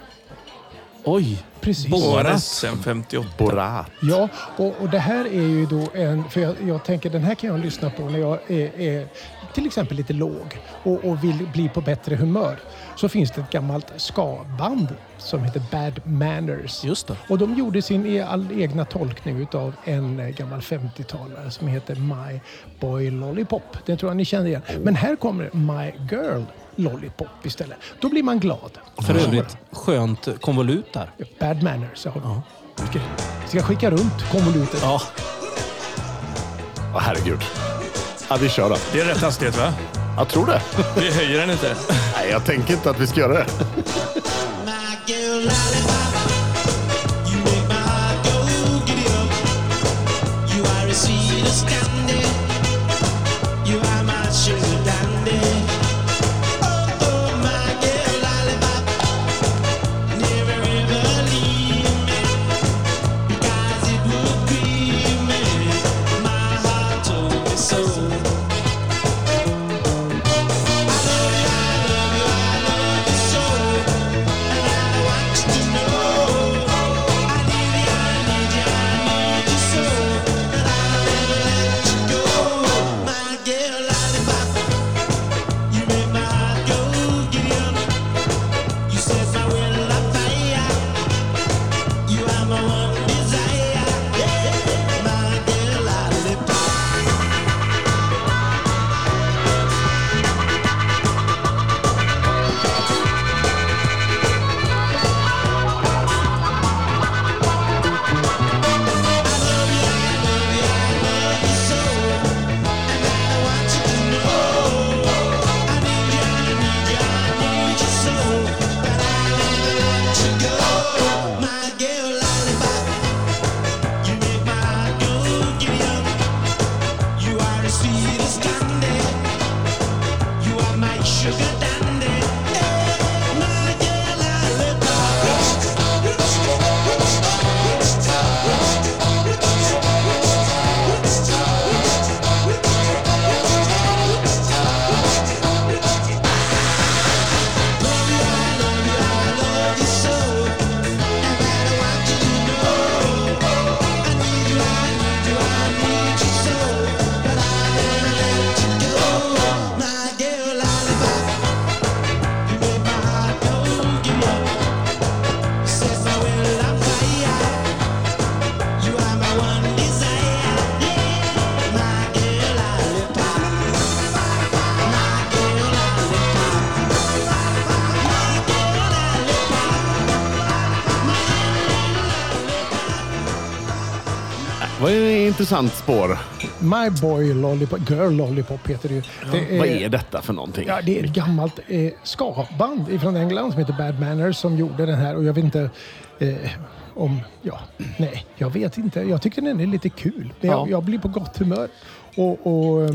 Speaker 3: Oj,
Speaker 4: Precis.
Speaker 1: på SM 58.
Speaker 2: Borat.
Speaker 4: Ja, och, och det här är ju då en... För jag, jag tänker den här kan jag lyssna på när jag är, är till exempel lite låg och, och vill bli på bättre humör. Så finns det ett gammalt ska-band som heter Bad Manners.
Speaker 3: just det.
Speaker 4: Och de gjorde sin e- all egna tolkning utav en eh, gammal 50-talare som heter My Boy Lollipop. Den tror jag ni känner igen. Men här kommer My Girl Lollipop istället. Då blir man glad.
Speaker 3: För övrigt, skönt konvolut där.
Speaker 4: Bad Manners. Jag har... Ska- Ska skicka runt konvolutet.
Speaker 3: Ja,
Speaker 2: Åh, herregud. Ja, vi kör då.
Speaker 1: Det är rätt hastighet va?
Speaker 2: Jag tror det.
Speaker 1: Vi höjer den inte.
Speaker 2: Nej, jag tänker inte att vi ska göra det.
Speaker 6: My girl lollipop, you make my heart go giddy up. You are a sweetest candy, you are my sugar dandy. Oh, oh, my girl lollipop, never ever leave me, because it would grieve me. My heart told me so. I love you, I love you, I love you so. Sugar dandy, hey, my girl, I look
Speaker 2: Vad är det intressant spår?
Speaker 4: My Boy Lollipop, Girl Lollipop heter det ju. Det
Speaker 2: Vad är detta för någonting?
Speaker 4: Ja, det är ett gammalt eh, ska-band från England som heter Bad Manners som gjorde den här och jag vet inte eh, om... Ja, nej, jag vet inte. Jag tycker den är lite kul. Men Jag,
Speaker 2: Ja.
Speaker 4: jag blir på gott humör. Och, och, eh,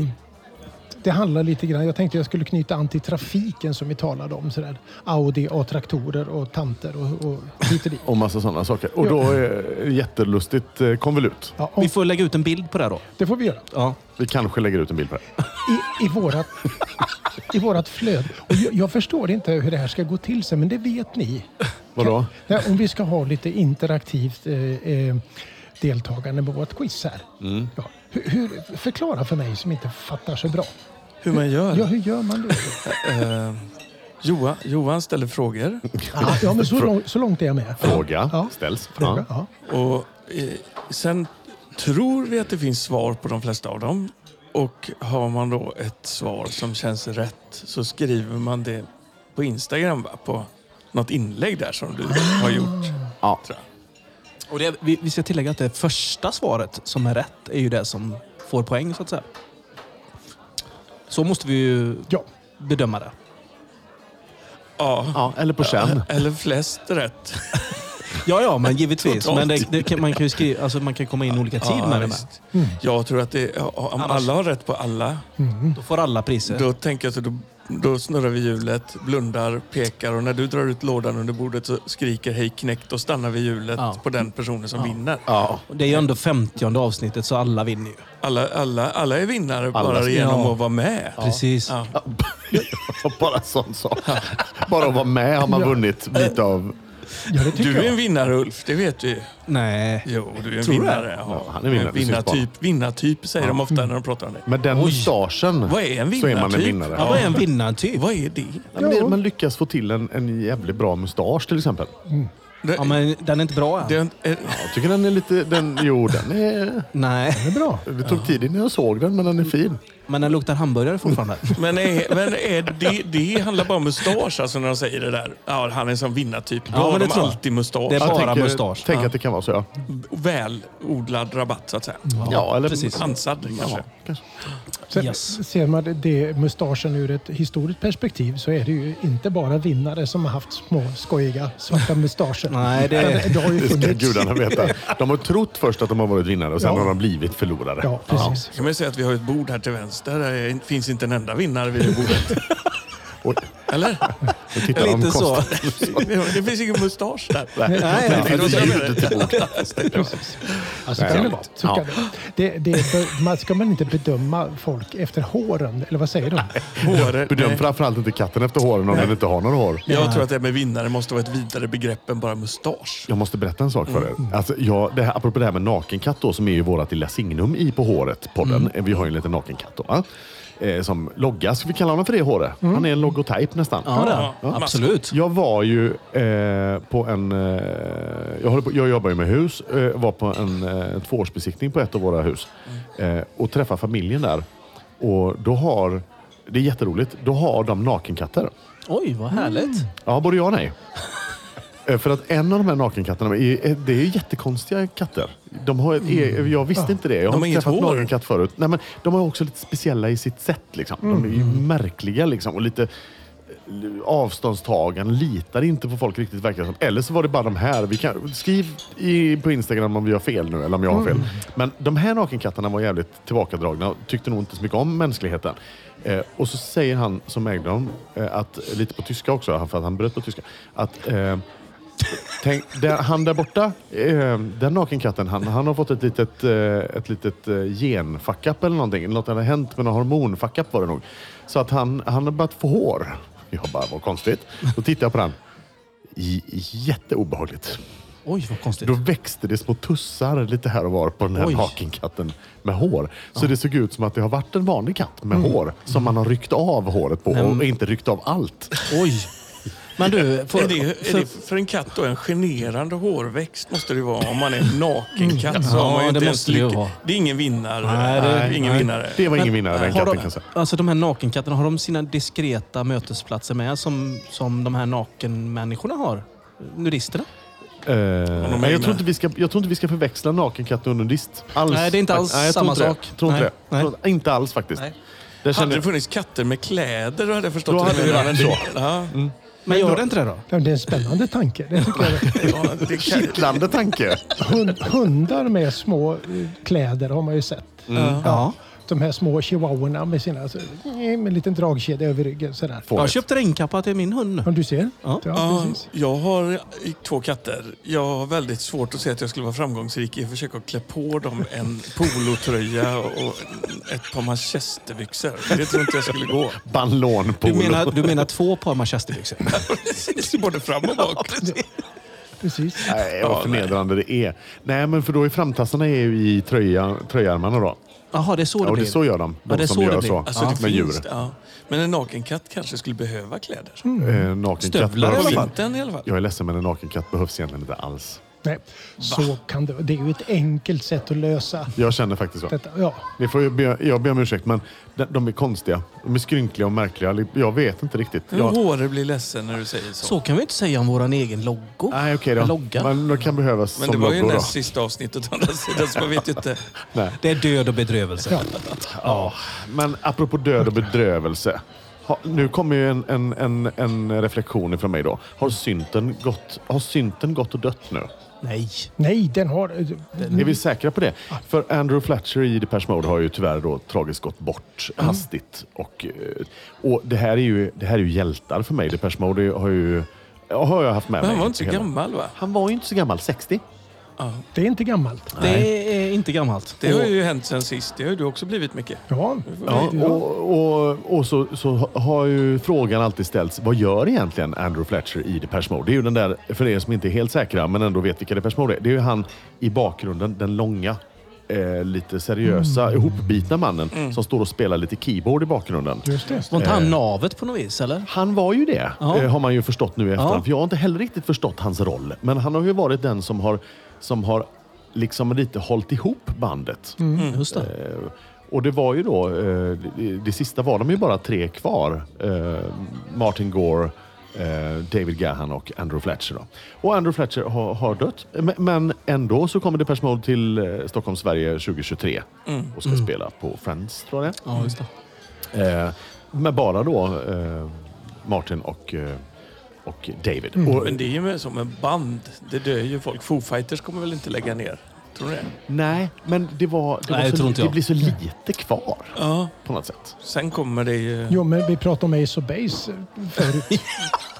Speaker 4: det handlar lite grann, jag tänkte jag skulle knyta an till trafiken som vi talade om. Sådär. Audi och traktorer och tanter och, och hit och dit.
Speaker 2: Och massa sådana saker. Och då är det jättelustigt eh, konvolut.
Speaker 4: Ja, och
Speaker 3: Vi får lägga ut en bild på det här då.
Speaker 4: det får vi göra.
Speaker 3: Ja.
Speaker 2: Vi kanske lägger ut en bild på det.
Speaker 4: i, i, vårat, i vårat flöde. Och jag, jag förstår inte hur det här ska gå till sig, men det vet ni.
Speaker 2: Vadå?
Speaker 4: Ja, om vi ska ha lite interaktivt eh, eh, deltagande med vårt quiz här.
Speaker 2: Mm.
Speaker 4: Ja, hur, hur, förklara för mig som inte fattar så bra.
Speaker 1: Hur man gör?
Speaker 4: Ja, hur gör man det?
Speaker 1: Eh, Johan, Johan ställer frågor.
Speaker 4: Ja, ja men så, lång, så långt är jag med.
Speaker 2: Fråga
Speaker 4: Ja.
Speaker 2: ställs.
Speaker 4: Fråga,
Speaker 2: Ja.
Speaker 4: ja.
Speaker 1: Och eh, sen tror vi att det finns svar på de flesta av dem. Och har man då ett svar som känns rätt så skriver man det på Instagram, va? på något inlägg där som du har gjort.
Speaker 2: Ja.
Speaker 1: Tror jag.
Speaker 3: Och det, vi, vi ska tillägga att det första svaret som är rätt är ju det som får poäng så att säga. Så måste vi ju
Speaker 4: Ja.
Speaker 3: bedöma det.
Speaker 1: Ja.
Speaker 2: ja, eller på känn.
Speaker 1: Eller flest rätt.
Speaker 3: Ja, ja, men givetvis.
Speaker 1: Totalt.
Speaker 3: men det, det, kan- man kan ju skriva, alltså man kan komma in olika tid
Speaker 1: Ja,
Speaker 3: med det med.
Speaker 1: visst. Jag tror att det, om
Speaker 3: Annars- Mm.
Speaker 1: alla har rätt på alla,
Speaker 2: Mm.
Speaker 3: Då får alla priser.
Speaker 1: då tänker jag så då, då snurrar vi hjulet, blundar, pekar och när du drar ut lådan under bordet så skriker hej knäckt och stannar vi hjulet
Speaker 3: Ja.
Speaker 1: på den personen som vinner.
Speaker 2: Ja.
Speaker 3: Och Det är ju ändå 50 avsnittet så alla vinner ju.
Speaker 1: Alla, alla, alla är vinnare
Speaker 2: Alla
Speaker 1: bara
Speaker 2: ska-
Speaker 1: genom
Speaker 3: Ja.
Speaker 1: att vara med.
Speaker 3: Precis.
Speaker 1: Ja.
Speaker 2: Bara sån sak. Bara att vara med har man vunnit lite av...
Speaker 4: ja, det tycker
Speaker 1: Du är en
Speaker 4: jag.
Speaker 1: vinnare Ulf, det vet du
Speaker 3: Nej.
Speaker 1: Jo, du är en
Speaker 3: Tror du
Speaker 1: vinnare.
Speaker 2: Ja, han är vinnare, det syns
Speaker 1: Vinnartyp, vinnartyp säger de ofta när de pratar om det.
Speaker 2: Med den mustaschen
Speaker 1: Vad är en
Speaker 2: så är man en
Speaker 1: vinnartyp?
Speaker 2: vinnare.
Speaker 3: Ja, vad är en typ? vinnartyp?
Speaker 1: Vad är det?
Speaker 2: Ja, men det- Man lyckas få till en, en jävligt bra mustasch till exempel.
Speaker 1: det,
Speaker 3: Ja, men den är inte bra än.
Speaker 1: det är, eh, är,
Speaker 2: Jag tycker den är lite... Den, jo, den är...
Speaker 3: Nej,
Speaker 4: Det är bra.
Speaker 2: Det tog tid innan jag såg den, men den är fin.
Speaker 3: men den luktar hamburgare fortfarande.
Speaker 1: men är, men är det, det handlar bara om mustasch alltså när de säger det där. Ja, han är en sån vinnartyp. Då
Speaker 3: Ja,
Speaker 1: har
Speaker 3: men det
Speaker 1: de
Speaker 3: tror jag.
Speaker 1: alltid mustasch.
Speaker 3: Det är
Speaker 2: Jag
Speaker 3: Bara
Speaker 2: tänker,
Speaker 3: mustasch.
Speaker 2: Tänk
Speaker 3: Ja.
Speaker 2: att det kan vara så, ja.
Speaker 1: Välodlad rabatt så att säga.
Speaker 2: Ja, eller
Speaker 3: precis.
Speaker 1: Ansad kanske.
Speaker 4: Sen,
Speaker 3: Yes.
Speaker 4: Ser man det- det mustaschen ur ett historiskt perspektiv så är det ju inte bara vinnare som har haft små skojiga svarta mustascher.
Speaker 3: Nej, det är-
Speaker 4: Utan det har ju
Speaker 2: Det ska
Speaker 4: funnits.
Speaker 2: gudarna veta. De har trott först att de har varit vinnare och sen
Speaker 4: Ja.
Speaker 2: har de blivit förlorare.
Speaker 4: Ja, precis.
Speaker 1: Kan man ju säga att vi har ett bord här till vänster. Det finns inte en enda vinnare vid det bordet.
Speaker 2: Oj,
Speaker 1: Eller?
Speaker 2: nu tittar de
Speaker 3: Lite så.
Speaker 2: konstigt.
Speaker 1: Det finns ingen mustasch där.
Speaker 2: Nej,
Speaker 3: Nej,
Speaker 2: det
Speaker 1: det
Speaker 2: finns
Speaker 1: är
Speaker 2: ljudet i bordet.
Speaker 4: Precis. Ja, så
Speaker 2: Nej,
Speaker 4: kan det
Speaker 2: ja.
Speaker 4: vara. Så kan
Speaker 2: Ja.
Speaker 4: det vara. Det, det, är- man ska man inte bedöma folk efter håren, eller vad säger de?
Speaker 1: Håret,
Speaker 2: Bedöm
Speaker 1: nej.
Speaker 2: framförallt inte katten efter håren om den inte har några hår.
Speaker 1: Jag tror att det här med vinnare måste vara ett vidare begrepp än bara mustasch.
Speaker 2: Jag måste berätta en sak för er.
Speaker 4: Mm.
Speaker 2: Alltså, jag, det här, apropå det här med nakenkatt då, som är ju vårat lilla signum i På håret-podden.
Speaker 4: Mm.
Speaker 2: Vi har ju en liten nakenkatt då. Va? Eh, som logga, ska vi kalla honom för det, Håre?
Speaker 4: Mm.
Speaker 2: Han är en logotyp nästan.
Speaker 3: Ja,
Speaker 1: Ja,
Speaker 3: det. absolut.
Speaker 2: Jag var ju eh, på en... Eh, jag, håller på, jag jobbar ju med hus. Eh, var på en eh, tvåårsbesiktning på ett av våra hus. Eh, och träffade familjen där. Och då har... Det är jätteroligt. Då har de nakenkatter.
Speaker 3: Oj, vad härligt.
Speaker 2: Ja, både ja och nej. Eh, För att en av de här nakenkatterna, är- är- det är ju jättekonstiga katter. De har, ett- är- eh, jag visste inte det. Jag
Speaker 1: Mm. Ah. De har
Speaker 2: har inte
Speaker 1: inget
Speaker 2: träffat
Speaker 1: hår.
Speaker 2: någon katt förut. Nej, men de är också lite speciella i sitt sätt. Liksom. De är ju
Speaker 1: Mm.
Speaker 2: märkliga liksom, och lite avståndstagande. Litar inte på folk riktigt verkar det som. Eller så var det bara de här. Vi kan, skriv i, på Instagram om vi har fel nu, eller om jag har fel. Men de här nakenkatterna var jävligt tillbakadragna och tyckte nog inte så mycket om mänskligheten. Eh, och så säger han som ägde dem, eh, att, lite på tyska också, han- för att han bröt på tyska, att eh, Tänk, där, han där borta, eh, den nakenkatten, han, han har fått ett litet, eh, ett litet eh, gen-fuck-up eller någonting. Något har hänt med någon hormon-fuck-up var det nog. Så att han, han har börjat få hår. Jag bara, vad konstigt. Då tittar jag på den. J- jätteobehagligt.
Speaker 3: Oj, vad konstigt.
Speaker 2: Då växte det små tussar llite här och var på den här
Speaker 3: Oj.
Speaker 2: nakenkatten med hår. Så det såg ut som att det har varit en vanlig katt
Speaker 3: Mm.
Speaker 2: med hår som man har ryckt av håret på och inte ryckt av allt.
Speaker 3: Oj. Men du, får,
Speaker 1: Är det, är
Speaker 3: för-
Speaker 1: det för en katt då en generande hårväxt måste det vara om man är en nakenkatt. Så
Speaker 3: Mm. Ja,
Speaker 1: har man ju
Speaker 3: det
Speaker 1: inte ens
Speaker 3: måste det ju
Speaker 1: lyck-
Speaker 3: vara.
Speaker 1: Det är ingen vinnare.
Speaker 3: Nej, det-
Speaker 1: ingen
Speaker 3: nej.
Speaker 1: vinnare.
Speaker 2: Det var
Speaker 3: Men
Speaker 2: ingen vinnare den
Speaker 3: har
Speaker 2: katten
Speaker 3: de,
Speaker 2: kan jag säga.
Speaker 3: Alltså de här nakenkatterna, har de sina diskreta mötesplatser med som, som de här nakenmänniskorna har? Nudisterna?
Speaker 2: Eh,
Speaker 1: är
Speaker 2: nej, jag,
Speaker 1: inne.
Speaker 2: tror inte vi ska, jag tror inte vi ska förväxla nakenkatt och nudist. Alls.
Speaker 3: Nej, det är inte alls
Speaker 2: Nej, jag tror
Speaker 3: samma
Speaker 2: inte det.
Speaker 3: sak.
Speaker 2: Tror inte
Speaker 3: Nej,
Speaker 2: det.
Speaker 3: nej.
Speaker 2: Tror- Inte alls faktiskt.
Speaker 3: Nej.
Speaker 2: Det
Speaker 1: Hade
Speaker 2: känner,
Speaker 1: det funnits katter med kläder då hade jag förstått
Speaker 2: Då
Speaker 1: det.
Speaker 2: hade
Speaker 1: Men
Speaker 2: det varit
Speaker 1: det-
Speaker 2: så.
Speaker 1: Ja,
Speaker 3: Men gör det inte det då?
Speaker 4: Ja, Det är en spännande tanke. Det tycker jag.
Speaker 3: Mm.
Speaker 1: ja, det kan,
Speaker 2: kittlande tanke.
Speaker 4: Hund, hundar med små eh, kläder har man ju sett.
Speaker 3: Ja.
Speaker 4: de här små chihuahuorna med sina så, med en liten dragkedja över ryggen. Sådär.
Speaker 2: Fåret.
Speaker 3: Jag köpte regnkappa till min hund nu.
Speaker 4: Om du ser?
Speaker 3: Ja.
Speaker 1: Ja,
Speaker 4: precis.
Speaker 1: jag har två katter. Jag har väldigt svårt att se att jag skulle vara framgångsrik i att försöka klä på dem en polotröja och ett par manchesterbyxor. Det tror inte jag skulle gå.
Speaker 3: Du
Speaker 2: Ballonpolo.
Speaker 3: menar, du menar två par manchesterbyxor?
Speaker 1: Precis, både fram och bak.
Speaker 4: precis.
Speaker 2: Nej, vad förnedrande det är. Nej, men för då är framtassarna är ju i tröja, tröjarmarna då.
Speaker 3: Jaha, det är så det
Speaker 2: Ja, och
Speaker 3: blir?
Speaker 2: det så gör de.
Speaker 3: Ja,
Speaker 2: De
Speaker 3: det är
Speaker 2: som
Speaker 3: så det
Speaker 2: gör
Speaker 3: blir.
Speaker 2: så.
Speaker 1: Alltså,
Speaker 2: Ja,
Speaker 1: det
Speaker 2: med
Speaker 1: finns,
Speaker 2: djur.
Speaker 1: ja. Men en nakenkatt kanske skulle behöva kläder. Mm.
Speaker 2: Eh, nakenkatt
Speaker 3: Stövlar i alla
Speaker 1: På
Speaker 2: behövs
Speaker 3: fall.
Speaker 2: inte.
Speaker 1: vintern i alla fall.
Speaker 2: Jag är ledsen, men en nakenkatt behövs egentligen inte alls.
Speaker 4: Nej. Så kan det Det är ju ett enkelt sätt att lösa
Speaker 2: Jag känner faktiskt så.
Speaker 4: detta. Ja.
Speaker 2: Ni får ju be, jag ber om ursäkt, men de, de är konstiga. De är skrynkliga och märkliga. Jag vet inte riktigt.
Speaker 1: Min
Speaker 2: Jag,
Speaker 1: håre blir ledsen när du säger så.
Speaker 3: Så kan vi inte säga om vår egen logo.
Speaker 2: nej, okej då.
Speaker 3: Logga.
Speaker 2: Men de kan behövas
Speaker 1: Men det
Speaker 2: som
Speaker 1: var ju
Speaker 2: loggor då.
Speaker 1: näst sista avsnittet å andra sidan, så man vet ju inte.
Speaker 2: Nej.
Speaker 3: Det är död och bedrövelse.
Speaker 4: Ja.
Speaker 2: Ja, men apropå död och bedrövelse. Ha, nu kommer ju en, en, en, en reflektion ifrån mig då. Har synten gått, har synten gått och dött nu?
Speaker 3: Nej.
Speaker 4: Nej, den har...
Speaker 2: Är vi säkra på det? För Andrew Fletcher i Depeche Mode har ju tyvärr då tragiskt gått bort hastigt. Och, eh, och det, här är ju, det här är ju hjältar för mig. Depeche Mode har ju har jag haft med
Speaker 1: Men
Speaker 2: mig.
Speaker 1: han var inte så
Speaker 2: hela-
Speaker 1: gammal va?
Speaker 2: Han var ju inte så gammal. 60?
Speaker 4: Det är inte gammalt.
Speaker 3: Det är inte gammalt.
Speaker 1: Det har ju hänt sen sist. Det har ju du också blivit mycket.
Speaker 4: Ja.
Speaker 2: Ja,
Speaker 4: Ja.
Speaker 2: och, och, och så, så har ju frågan alltid ställts, vad gör egentligen Andrew Fletcher i Depeche Mode? Det är ju den där, för er som inte är helt säkra, men ändå vet vilka Depeche Mode är. Det är ju han i bakgrunden, den långa, eh, lite seriösa, ihopbitna mannen som står och spelar lite keyboard i bakgrunden.
Speaker 4: Just det.
Speaker 3: Var inte han navet på något vis, eller?
Speaker 2: Han var ju det,
Speaker 3: Ja.
Speaker 2: eh, har man ju förstått nu i efterhand.
Speaker 3: Ja.
Speaker 2: För jag har inte heller riktigt förstått hans roll. Men han har ju varit den som har, som har liksom lite hållit ihop bandet.
Speaker 3: Mm, Just det.
Speaker 2: Eh, Och det var ju då, eh, det, det sista var de ju bara tre kvar. Eh, Martin Gore, eh, David Gahan och Andrew Fletcher. Då. Och Andrew Fletcher har, har dött. Men, men ändå så kommer Depeche Mode till eh, Stockholm, Sverige 2023
Speaker 1: Mm.
Speaker 2: och ska spela på Friends, tror jag det
Speaker 3: Ja, just det.
Speaker 2: är. eh, Med bara då eh, Martin och, eh, och David. Och,
Speaker 1: Men det är ju mer som en band. Det dör ju folk. Foo Fighters kommer väl inte lägga ner? Tror du det?
Speaker 2: nej, men det, var, det, var
Speaker 3: Nej, det
Speaker 2: så,
Speaker 3: tror inte
Speaker 2: det
Speaker 3: jag.
Speaker 2: blir så lite kvar
Speaker 1: Ja.
Speaker 2: på något sätt.
Speaker 1: Sen kommer det ju...
Speaker 4: Jo, men vi pratade om Ace of Base förut.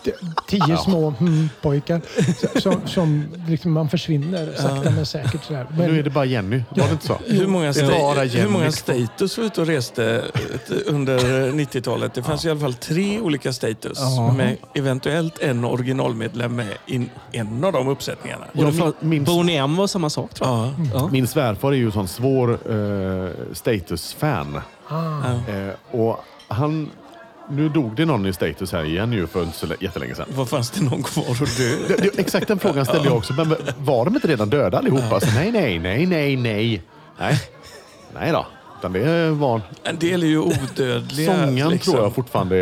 Speaker 4: T- Tio små hmm, pojkar s- som, som liksom man försvinner sakta men säkert. Sådär.
Speaker 2: Nu är
Speaker 4: Men
Speaker 2: det bara Jenny, var det inte så?
Speaker 1: Hur många,
Speaker 2: Det är bara
Speaker 1: sta- hur
Speaker 2: Jenny
Speaker 1: många
Speaker 2: kvar.
Speaker 1: status var ute och reste ett- under 90-talet? Det fanns i alla fall tre olika status med eventuellt en originalmedlem med i en av de uppsättningarna.
Speaker 2: Jag
Speaker 3: Och
Speaker 2: min-
Speaker 3: min,
Speaker 2: minns-
Speaker 3: Boney M var samma sak, tror jag.
Speaker 1: Ja.
Speaker 3: Ja.
Speaker 2: Min svärfar är ju en sån svår eh, status-fan.
Speaker 1: Ah.
Speaker 2: Eh, och han... Nu dog det någon i status här igen ju för inte så lä- jättelänge sedan.
Speaker 1: Vad fanns det någon kvar att dö?
Speaker 2: Det- det- Exakt den frågan ställde jag också. Men var de inte redan döda allihopa? Så nej, nej, nej, nej, nej. Nej, nej då. Utan det var...
Speaker 1: En del är ju odödliga.
Speaker 2: Sången
Speaker 1: liksom. Ah,
Speaker 2: tror jag fortfarande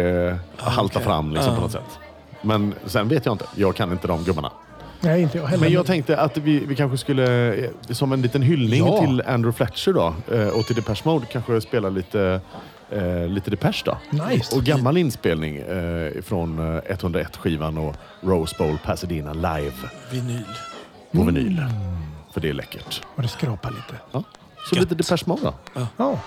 Speaker 2: eh, haltar
Speaker 1: okej. Ah.
Speaker 2: fram liksom, på
Speaker 1: Ja.
Speaker 2: något sätt. Men sen vet jag inte. Jag kan inte de gubbarna.
Speaker 4: nej, inte jag heller.
Speaker 2: Men jag tänkte att vi, vi kanske skulle, eh, som en liten hyllning
Speaker 3: Ja.
Speaker 2: till Andrew Fletcher då, eh, och till Depeche Mode, kanske spela lite, eh, lite Depeche då.
Speaker 4: Nice.
Speaker 2: Och gammal inspelning eh, från eh, 101-skivan och Rose Bowl Pasadena live
Speaker 1: Vinyl.
Speaker 2: på vinyl. För det är läckert.
Speaker 4: Och det skrapar lite.
Speaker 2: Ja. Så lite Depeche Mode då.
Speaker 4: Ja.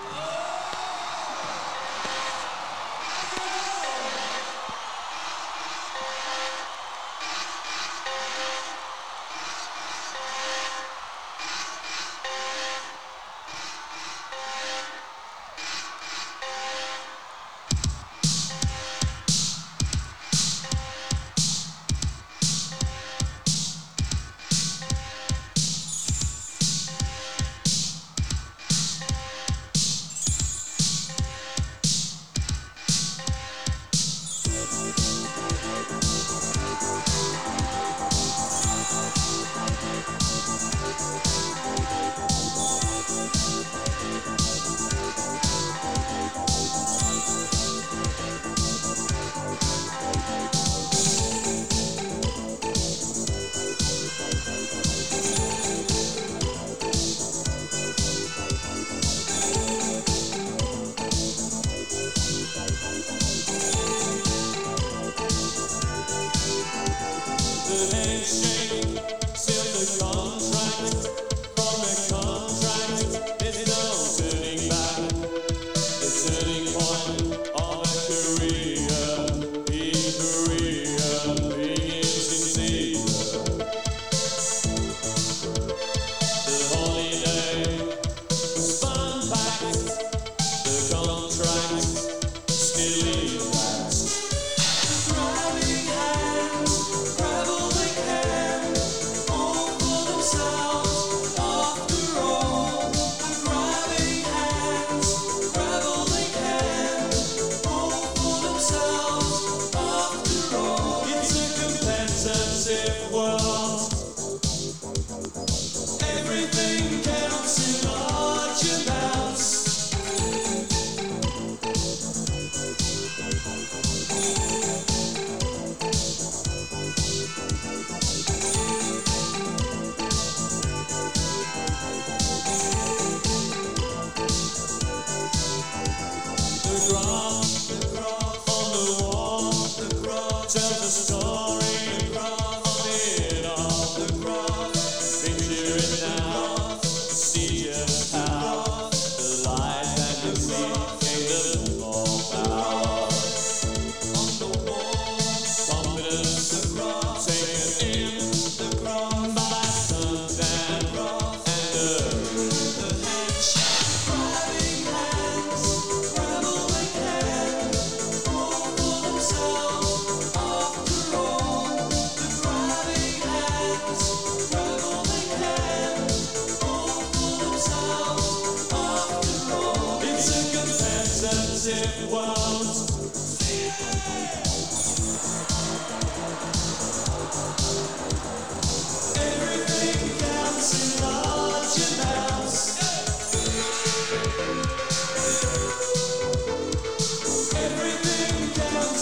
Speaker 7: Thank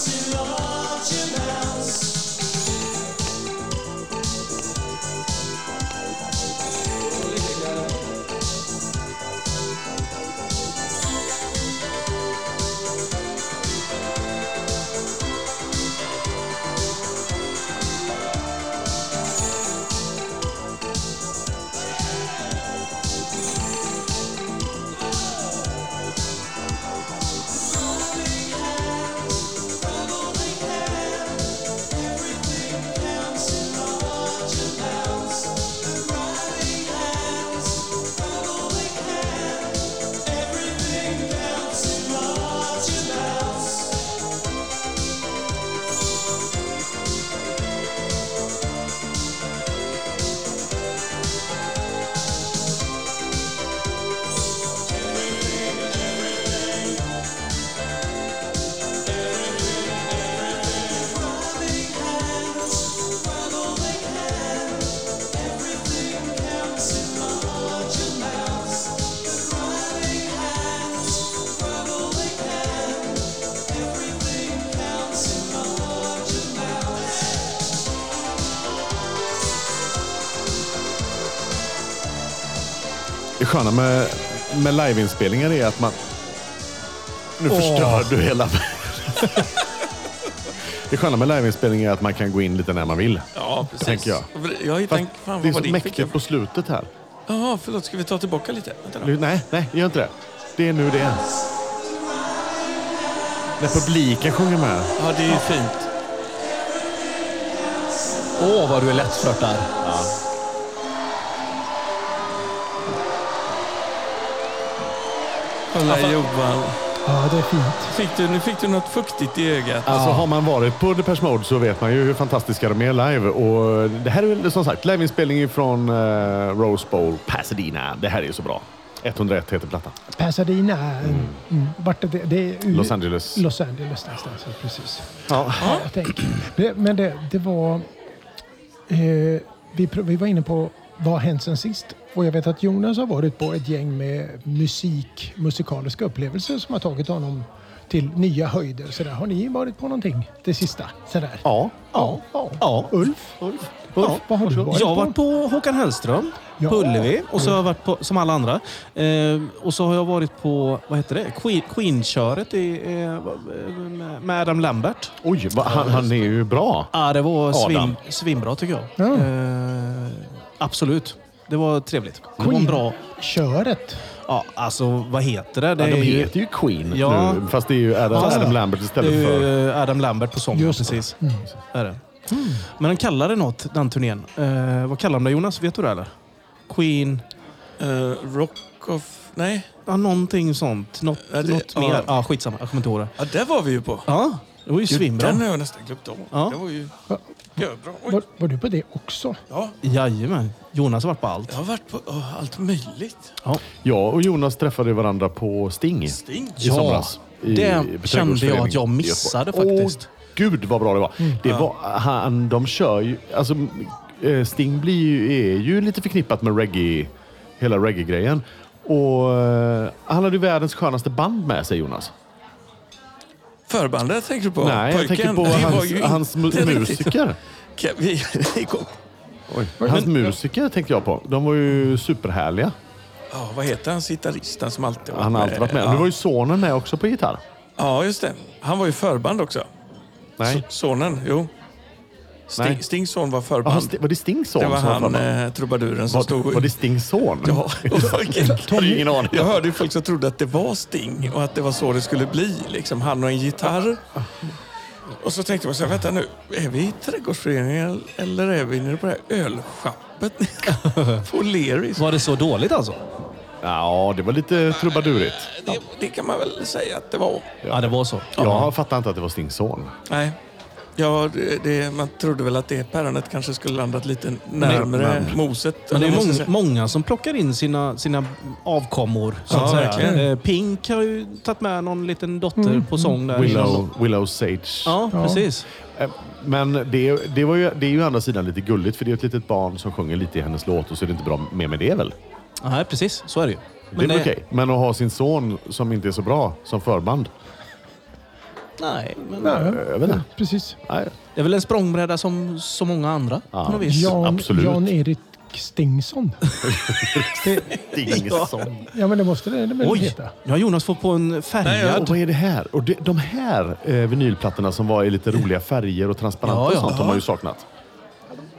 Speaker 6: station house.
Speaker 2: Det sköna med, med liveinspelningar är att man... Nu förstör du hela... det sköna med liveinspelningar är att man kan gå in lite när man vill.
Speaker 1: Ja, precis.
Speaker 2: Tänker jag.
Speaker 1: Jag har ju
Speaker 2: Fast
Speaker 1: tänkt, fan
Speaker 2: det är
Speaker 1: vad
Speaker 2: så
Speaker 1: var det
Speaker 2: mäktigt på slutet här.
Speaker 1: Jaha, förlåt. Ska vi ta tillbaka lite? Vänta då.
Speaker 2: Eller- Nej, nej, gör inte det. Det är nu det är. När publiken sjunger med.
Speaker 1: Ja, det är ju fint.
Speaker 7: Åh, vad du är lättflörtad.
Speaker 1: Kolla Johan.
Speaker 4: Ja, det är fint.
Speaker 1: Fick du, nu fick du något fuktigt i ögat.
Speaker 2: Alltså har man varit på Depeche Mode så vet man ju hur fantastiska de är live. Och det här är väl som sagt liveinspelning från eh, Rose Bowl, Pasadena. Det här är ju så bra. 101 heter plattan.
Speaker 4: Pasadena. Mm. Mm. Vart det, det är
Speaker 2: Los Angeles.
Speaker 4: Los Angeles någonstans, ja, precis.
Speaker 2: Ja.
Speaker 4: Ja. Jag tänker. Men- Men det, det var... Eh, vi, pr- vi var inne på vad har hänt sen sist? Och jag vet att Jonas har varit på ett gäng med musik, musikaliska upplevelser som har tagit honom till nya höjder. Så där. Har ni varit på någonting det sista? Så där.
Speaker 2: Ja.
Speaker 4: Ja. ja.
Speaker 2: Ja.
Speaker 4: Ulf,
Speaker 2: Ulf.
Speaker 4: Ulf vad har du varit
Speaker 3: Jag har
Speaker 4: på?
Speaker 3: varit på Håkan Hellström
Speaker 4: Ja.
Speaker 3: på Ullevi. Och så har jag
Speaker 2: Mm.
Speaker 3: varit på, som alla andra. Eh, och så har jag varit på, vad heter det? Queen- Queen-köret i, eh, med- med Adam Lambert.
Speaker 2: Oj, vad- han, han är ju bra.
Speaker 3: Ja, det var svin,
Speaker 2: Adam.
Speaker 3: svinbra tycker jag.
Speaker 4: Ja.
Speaker 3: Eh, absolut. Det var trevligt. Det var en
Speaker 4: Queen.
Speaker 3: bra...
Speaker 4: Köret.
Speaker 3: Ja, alltså vad heter det? Det
Speaker 2: Ja, de
Speaker 3: är ju-
Speaker 2: heter ju Queen
Speaker 3: Ja.
Speaker 2: nu, fast det är ju Adam,
Speaker 3: Ja.
Speaker 2: Adam Lambert
Speaker 3: Det
Speaker 2: istället
Speaker 3: är
Speaker 2: för...
Speaker 3: ju Adam Lambert på sången.
Speaker 4: Just det. Mm.
Speaker 3: precis. Det Är det. Men de kallade något, den turnén. Eh, vad kallar de det Jonas? Vet du det eller? Queen?
Speaker 1: Eh, rock of... Nej.
Speaker 3: Ja, någonting sånt. Något,
Speaker 1: Ja, det-
Speaker 3: något
Speaker 1: ja.
Speaker 3: mer. Ja, skitsamma. Jag kommer inte ihåg det.
Speaker 1: Ja, där var vi ju på.
Speaker 3: Ja, det var ju
Speaker 1: Den
Speaker 3: svinbra.
Speaker 1: har jag nästan glömt av.
Speaker 3: Ja.
Speaker 1: Det var ju...
Speaker 4: Va-
Speaker 1: Görbra. Oj.
Speaker 4: Var, var du på det också?
Speaker 1: Ja,
Speaker 3: Jajamän. Jonas har varit på allt.
Speaker 1: jag har varit på ja, allt möjligt.
Speaker 2: Jag och Jonas träffade ju varandra på Sting.
Speaker 1: Sting.
Speaker 2: i somras. I,
Speaker 3: det
Speaker 2: på
Speaker 3: kände jag att jag
Speaker 2: trädgårdsföreningen i
Speaker 3: missade
Speaker 2: Göteborg.
Speaker 3: faktiskt.
Speaker 2: Åh, gud vad bra det var.
Speaker 1: Mm.
Speaker 2: Det var han, de kör ju... Alltså, eh, Sting blir ju, är ju lite förknippat med reggae, hela reggae-grejen. Och eh, han hade ju världens skönaste band med sig, Jonas.
Speaker 1: Förbandet tänker du på?
Speaker 2: Nej, jag
Speaker 1: Pojken.
Speaker 2: tänker på
Speaker 1: Det var
Speaker 2: hans,
Speaker 1: ju inte
Speaker 2: hans mu-
Speaker 1: riktigt-
Speaker 2: musiker.
Speaker 1: Kan Vi igång.
Speaker 2: Oj. Hans musiker tänker jag på. De var ju superhärliga.
Speaker 1: Ja, vad heter han? Gitarristen som alltid
Speaker 2: Han har alltid varit med.
Speaker 1: Ja.
Speaker 2: Nu var ju sonen med också på gitarr.
Speaker 1: ja, just det. Han var ju förband också.
Speaker 2: Nej.
Speaker 1: S- Sonen, jo. Sting,
Speaker 2: Nej.
Speaker 1: Stings son var
Speaker 2: Aha,
Speaker 1: förband.
Speaker 2: Sti- var det Stings son
Speaker 1: det var
Speaker 2: som var
Speaker 1: han,
Speaker 2: förband?
Speaker 1: eh, trubaduren som stod...
Speaker 2: Var, var det Stings son?
Speaker 1: Ja, och folk-
Speaker 2: Jag har ingen aning.
Speaker 1: Jag hörde ju folk som trodde att det var Sting och att det var så det skulle bli. Liksom, han och en gitarr. Och så tänkte jag så här, vänta nu, är vi i trädgårdsföreningen eller är vi nere på det här ölschappet på Leris?
Speaker 3: Var det så dåligt alltså?
Speaker 2: Ja, det var lite trubadurigt.
Speaker 1: Det, det kan man väl säga att det var.
Speaker 3: Ja, det var så.
Speaker 2: Jag fattar inte att det var Stings son.
Speaker 1: Nej. Ja, det, det, man trodde väl att det päronet kanske skulle landat lite närmre
Speaker 2: men-
Speaker 1: moset.
Speaker 3: Men det är
Speaker 1: eller vad man
Speaker 3: många,
Speaker 1: ska säga.
Speaker 3: många som plockar in sina, sina avkommor. Så
Speaker 1: Ja,
Speaker 3: att säga.
Speaker 1: verkligen.
Speaker 3: Eh, Pink har ju tagit med någon liten dotter på sång där.
Speaker 2: Willow, Willow Sage.
Speaker 3: Ja, precis.
Speaker 2: Eh, Men det, det, var ju, det är ju å andra sidan lite gulligt för det är ett litet barn som sjunger lite i hennes låt och så är det inte bra mer med det väl?
Speaker 3: Nej, precis. Så är det ju.
Speaker 2: Det är väl okej. Men att ha sin son som inte är så bra som förband.
Speaker 3: Nej, men
Speaker 2: Nej, eh, jag
Speaker 3: Eh,
Speaker 2: vet inte.
Speaker 4: Precis.
Speaker 2: Nej.
Speaker 3: det är väl en språngbräda som så många andra
Speaker 2: Ja.
Speaker 3: på något vis.
Speaker 2: Ja.
Speaker 4: Jan,
Speaker 2: absolut.
Speaker 4: Jan-Erik Stingsson. det,
Speaker 2: Dingsong.
Speaker 4: ja, men det måste det, det väl
Speaker 3: Oj,
Speaker 4: heta.
Speaker 3: nu har Jonas fått på en
Speaker 2: Och
Speaker 3: färgad.
Speaker 2: vad är det här? Och det, de här eh, vinylplattorna som var i lite roliga färger och transparenta
Speaker 3: Ja, ja.
Speaker 2: och sånt har man ju saknat.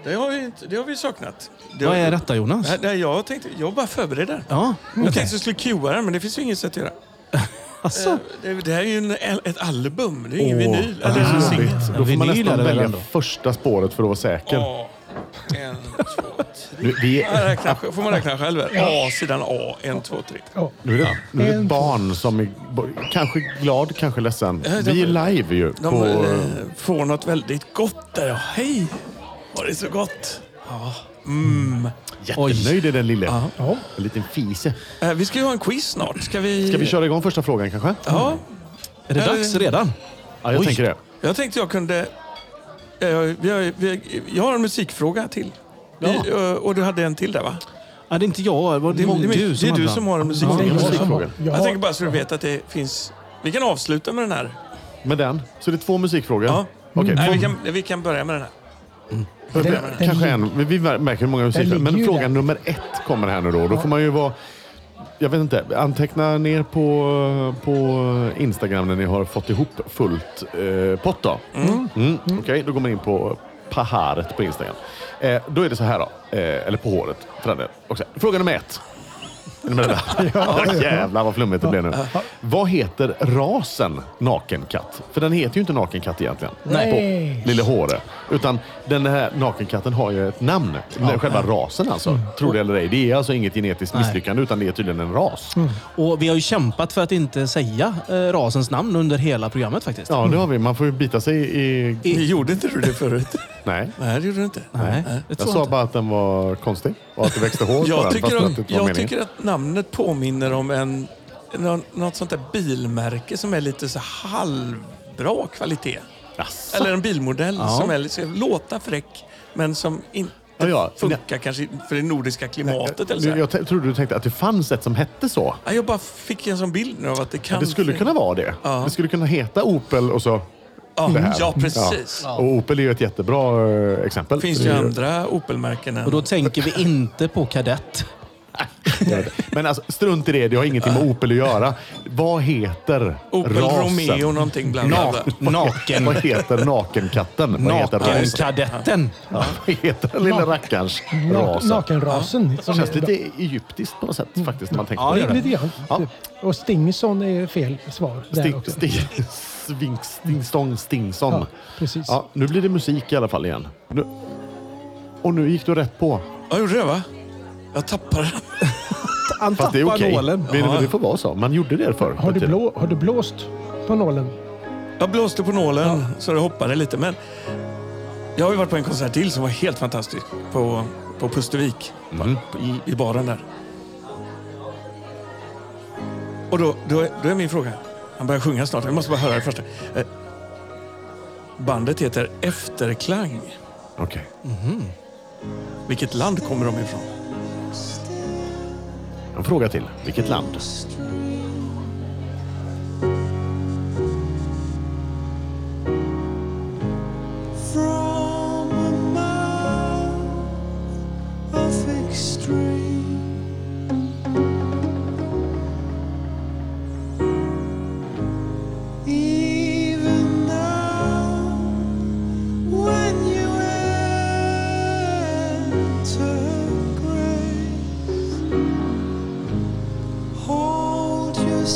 Speaker 1: Det har vi, inte- det har vi saknat. Det
Speaker 3: Vad
Speaker 1: har-
Speaker 3: är detta Jonas?
Speaker 1: Nej, nej, jag, tänkte, jag bara förbereder.
Speaker 3: Ja, okej.
Speaker 1: Jag tänkte att jag skulle cuea den, men det finns ju inget sätt att göra. Eh,
Speaker 3: Alltså,
Speaker 1: Det, det här är ju en, ett album, det är ingen
Speaker 3: Åh,
Speaker 1: vinyl. Eller en
Speaker 3: ah.
Speaker 1: singel.
Speaker 2: Jobbigt. Då får man
Speaker 3: Vinyl är
Speaker 2: nästan
Speaker 3: det väl
Speaker 2: välja
Speaker 3: ändå?
Speaker 2: första spåret för att vara säker.
Speaker 1: Ja. En, två, tre.
Speaker 2: Nu, vi
Speaker 1: Ja,
Speaker 2: är,
Speaker 1: räkna, får man räkna själv? här. A, sidan A. En, två, tre.
Speaker 4: Ja.
Speaker 2: nu är det, nu är det ett
Speaker 4: En,
Speaker 2: barn som är bo- kanske glad, kanske ledsen. Vi är live ju.
Speaker 1: De
Speaker 2: På,
Speaker 1: eh, får något väldigt gott där. ja. Hej! Var det så gott? Mm.
Speaker 2: jättenöjd är den lille.
Speaker 4: Ja.
Speaker 2: En liten fise.
Speaker 1: Eh, Vi ska ju ha en quiz snart. Ska vi...
Speaker 2: Ska vi köra igång första frågan kanske?
Speaker 1: Ja.
Speaker 3: är det dags redan?
Speaker 2: Ja, jag
Speaker 3: Oj.
Speaker 2: tänker det.
Speaker 1: Jag tänkte jag kunde... eh, Vi har, vi, jag har en musikfråga till. Vi,
Speaker 3: Ja.
Speaker 1: eh, Och du hade en till där va?
Speaker 3: Ja, det är inte jag. Det var
Speaker 1: Det, det,
Speaker 3: du som
Speaker 1: det är
Speaker 3: hade
Speaker 1: du
Speaker 3: den.
Speaker 1: som har en
Speaker 4: Det är
Speaker 1: musikfråga.
Speaker 4: jag som har-
Speaker 2: musikfrågan.
Speaker 4: jag
Speaker 1: Jag
Speaker 4: har-
Speaker 1: tänker bara så du vet att det finns... Vi kan avsluta med den här.
Speaker 2: Med den. Så det är två musikfrågor.
Speaker 1: Ja.
Speaker 2: Okej,
Speaker 1: Nej, vi
Speaker 2: två-
Speaker 1: kan, vi kan börja med den här.
Speaker 4: Den- den
Speaker 2: Kanske
Speaker 4: ligger-
Speaker 2: en. Men Vi märker hur många
Speaker 4: Den
Speaker 2: musikfrågor.
Speaker 4: ligger
Speaker 2: Men
Speaker 4: ju
Speaker 2: fråga
Speaker 4: där.
Speaker 2: nummer ett kommer här nu då. Då får man ju vara... Jag vet inte. Anteckna ner på, på Instagram när ni har fått ihop fullt eh, pott då. Mm. Okej, då går man in på paharet på Instagram. Eh, då är det så här då. Eh, eller på håret. för den delen också. Fråga nummer ett. Är ni beredda? Åh, Jävlar vad flummigt det blev nu. Vad heter rasen nakenkatt? För den heter ju inte nakenkatt egentligen.
Speaker 4: Nej.
Speaker 2: På Lille Håre. Utan den här nakenkatten har ju ett namn. Själva rasen alltså.
Speaker 1: Mm.
Speaker 2: Tror det eller ej. Det är alltså inget genetiskt
Speaker 3: Nej.
Speaker 2: misslyckande utan det är tydligen en ras.
Speaker 1: Mm.
Speaker 3: Och vi har ju kämpat för att inte säga eh, rasens namn under hela programmet faktiskt.
Speaker 2: Ja, det har vi. Man får ju bita sig i...
Speaker 1: Ni gjorde inte du det förut?
Speaker 2: Nej.
Speaker 1: Nej, det gjorde du inte.
Speaker 3: Nej, det
Speaker 2: Jag
Speaker 3: tror jag
Speaker 2: sa
Speaker 3: inte.
Speaker 2: bara att den var konstig och att det växte hår på
Speaker 1: Jag,
Speaker 2: den.
Speaker 1: tycker,
Speaker 2: fast
Speaker 1: om,
Speaker 2: att det inte var
Speaker 1: jag
Speaker 2: meningen.
Speaker 1: tycker att namnet påminner om en, nå- något sånt där bilmärke som är lite så halvbra kvalitet.
Speaker 2: Jaså?
Speaker 1: Eller en bilmodell
Speaker 3: Ja.
Speaker 1: som är lite, ska låta fräck men som inte
Speaker 2: Ja, ja.
Speaker 1: funkar kanske för det nordiska klimatet. eller så
Speaker 2: jag,
Speaker 1: här.
Speaker 2: jag t- trodde du tänkte att det fanns ett som hette så.
Speaker 1: Ja, jag bara fick en sån bild nu av att det kan...
Speaker 2: Det skulle kunna vara det.
Speaker 1: Ja.
Speaker 2: Det skulle kunna heta Opel och så det
Speaker 1: Ja,
Speaker 2: här.
Speaker 1: ja precis.
Speaker 2: Ja. Och Opel är ju ett jättebra eh, exempel.
Speaker 1: Finns
Speaker 2: Så
Speaker 1: ju
Speaker 2: det är ju-
Speaker 1: andra Opel-märken än...
Speaker 3: Och då tänker vi inte på kadett.
Speaker 2: Men alltså, strunt i det, det har ingenting med Opel att göra. Vad heter
Speaker 1: Opel
Speaker 2: rasen?
Speaker 1: Romeo någonting bland
Speaker 3: Na-
Speaker 1: annat.
Speaker 3: naken.
Speaker 2: Vad heter nakenkatten? Vad heter rasen?
Speaker 3: Nakenkadetten.
Speaker 2: Ja, vad heter den lilla rackarns
Speaker 4: Na-
Speaker 2: rasen?
Speaker 4: Nakenrasen.
Speaker 2: Det
Speaker 4: som
Speaker 2: känns
Speaker 4: är-
Speaker 2: lite egyptiskt på något sätt faktiskt när man tänker
Speaker 3: Ja,
Speaker 2: på
Speaker 3: det
Speaker 2: det.
Speaker 3: gör
Speaker 4: Lite grann.
Speaker 2: Ja.
Speaker 4: Och Stingson är fel svar. Där
Speaker 2: Sting,
Speaker 4: också.
Speaker 2: sting, svink, sting, stång, stingson.
Speaker 4: Ja,
Speaker 2: Ja,
Speaker 4: precis.
Speaker 2: nu blir det musik i alla fall igen. Nu, och nu gick du rätt på.
Speaker 1: Ja, gjorde det va? Jag tappade den.
Speaker 3: Han
Speaker 2: Fast det är
Speaker 3: tappar
Speaker 2: okej.
Speaker 3: nålen.
Speaker 2: Det, det får vara så. Man gjorde det förr.
Speaker 4: Har du, blå, har du blåst på nålen?
Speaker 1: Jag blåste på nålen så det hoppade lite. Men jag har ju varit på en konsert till som var helt fantastisk. På, på Pustervik.
Speaker 2: Mm.
Speaker 1: I, I baren där. Och då, då, är- då är min fråga. Han börjar sjunga snart. Vi måste bara höra det första. Eh, bandet heter Efterklang.
Speaker 2: Okej.
Speaker 1: Vilket land kommer de ifrån?
Speaker 2: En fråga till. Vilket land?
Speaker 6: From a mouth of extreme Even now when you enter grace Hold your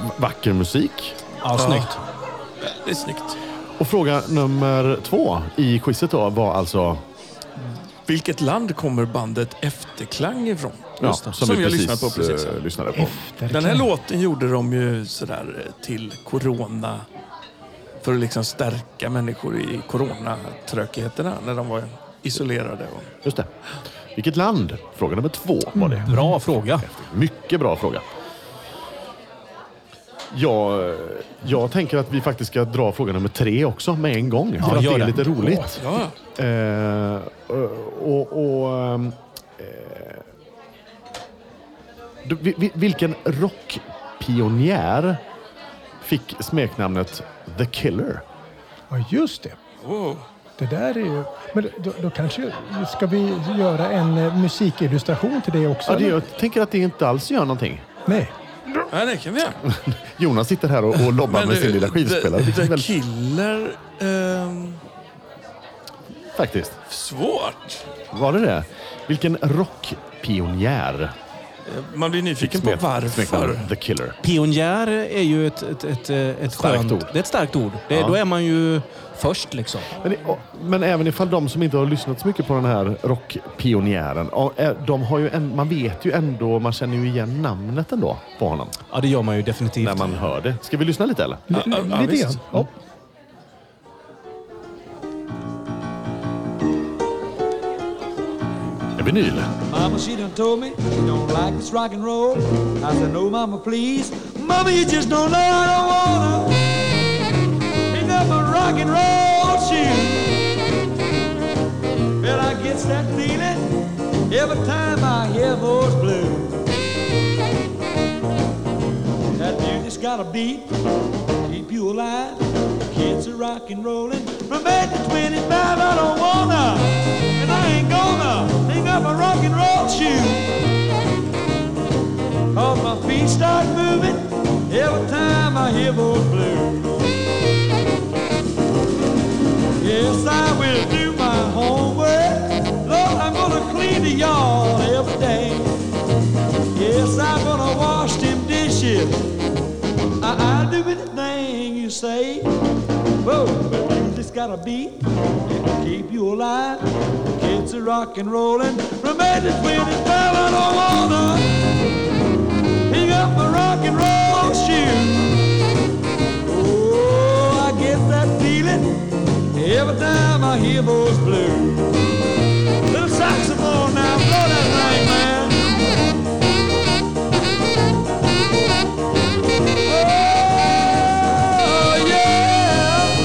Speaker 8: Oh,
Speaker 2: Vacker musik.
Speaker 3: Ja, snyggt.
Speaker 1: Det är snyggt.
Speaker 2: Och fråga nummer två i quizet då var alltså...
Speaker 1: Vilket land kommer bandet Efterklang ifrån?
Speaker 2: Ja,
Speaker 1: Just det. som jag lyssnade på precis.
Speaker 2: eh, lyssnade på.
Speaker 1: Den här låten gjorde de ju sådär eh, till corona. För att liksom stärka människor i coronatrökigheterna när de var isolerade. Och...
Speaker 2: Just det. Vilket land? Fråga nummer två
Speaker 1: Mm.
Speaker 2: var det.
Speaker 4: Mm.
Speaker 3: Bra fråga.
Speaker 2: Mycket bra fråga. Ja, eh, jag tänker att vi faktiskt ska dra fråga nummer tre också med en gång. för att
Speaker 3: gör
Speaker 2: det är
Speaker 3: det.
Speaker 2: lite roligt.
Speaker 1: Ja,
Speaker 2: Eh, och, och, ehm, eh, du, vi- vi- vilken rockpionjär fick smeknamnet The Killer?
Speaker 4: Ja, just det.
Speaker 1: wow.
Speaker 4: Det där är ju... Men då, då kanske... Ska vi göra en eh, musikillustration till det också?
Speaker 2: Ja, det,
Speaker 4: eller?
Speaker 2: jag tänker att det inte alls gör någonting.
Speaker 4: Nej.
Speaker 1: ja det kan vi göra.
Speaker 2: Jonas sitter här och, och lobbar med
Speaker 1: eh,
Speaker 2: sin lilla skivspelare.
Speaker 1: The, the
Speaker 2: Väldigt
Speaker 1: Killer... ehm,
Speaker 2: faktiskt.
Speaker 1: svårt.
Speaker 2: Var det det? Vilken rockpionjär
Speaker 1: Man blir nyfiken på
Speaker 2: smet-
Speaker 1: varför.
Speaker 2: smeknamnet The Killer?
Speaker 3: Pionjär är ju ett, ett, ett, eh, ett
Speaker 2: Starkt
Speaker 3: skönt...
Speaker 2: ord.
Speaker 3: Det är ett starkt ord. Det,
Speaker 2: Ja.
Speaker 3: Då är man ju först liksom.
Speaker 2: Men, och- men även ifall de som inte har lyssnat så mycket på den här rockpionjären, ja, eh, de har ju en, man vet ju ändå, man känner ju igen namnet ändå på honom
Speaker 3: Ja, det gör man ju definitivt.
Speaker 2: när man hör det. Ska vi lyssna lite eller?
Speaker 1: Ja, ja, ja,
Speaker 4: Lite
Speaker 1: visst.
Speaker 4: grann. Ja.
Speaker 2: En vinyl.
Speaker 8: Mama, she done told me you don't like this rock and roll. I said, no, mama, please. Mama, you just don't know I don't wanna pick up a rock and roll shoe. Well, I gets that feeling every time I hear those blues. That music's got a beat, keep you alive. Kids are rock and rolling from 8 to 25. I don't wanna, and I ain't gonna hang up a rock and roll shoe. Cause my feet start moving every time I hear those blues. Yes, I will do my homework. Lord, I'm gonna clean the yard every day. Yes, I'm gonna wash them dishes. I, I do anything you say. Whoa, but you just gotta be to keep you alive. Kids are rock and rolling from 8 to 25. I don't wanna hang up my rock and roll shoe. Oh, I get that feeling every time I hear those blues. Little saxophone now, blow that thing, man. Oh, yeah.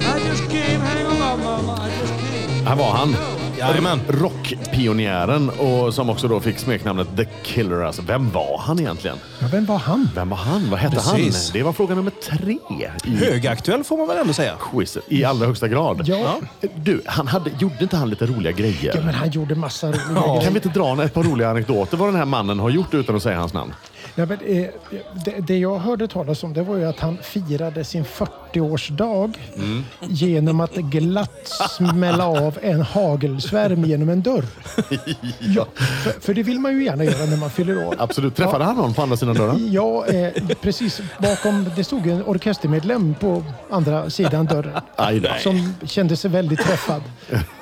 Speaker 8: I just can't hang on, my mama. I just can't.
Speaker 2: Här var han.
Speaker 3: Jajamän.
Speaker 2: Rockpionjären och som också då fick smeknamnet The Killer. Alltså, vem var han egentligen?
Speaker 4: ja, vem var han?
Speaker 2: Vem var han? Vad hette
Speaker 3: Precis.
Speaker 2: han? Det var fråga nummer tre i
Speaker 3: Högaktuell får man väl ändå säga.
Speaker 2: quizet. I allra högsta grad.
Speaker 4: Ja.
Speaker 2: Du, han hade, gjorde inte han lite roliga grejer?
Speaker 4: Ja, men han gjorde massa roliga
Speaker 2: Ja.
Speaker 4: grejer.
Speaker 2: Kan vi inte dra ett par roliga anekdoter vad den här mannen har gjort utan att säga hans namn?
Speaker 4: Nej, men, eh, det, det jag hörde talas om det var ju att han firade sin 40-årsdag genom att glatt smälla av en hagelsvärm genom en dörr. Ja, för, för det vill man ju gärna göra när man fyller år.
Speaker 2: Absolut. Träffade han någon på andra sidan dörren?
Speaker 4: Ja, eh, precis. Bakom det stod en orkestermedlem på andra sidan dörren.
Speaker 2: Aj då.
Speaker 4: Som kände sig väldigt träffad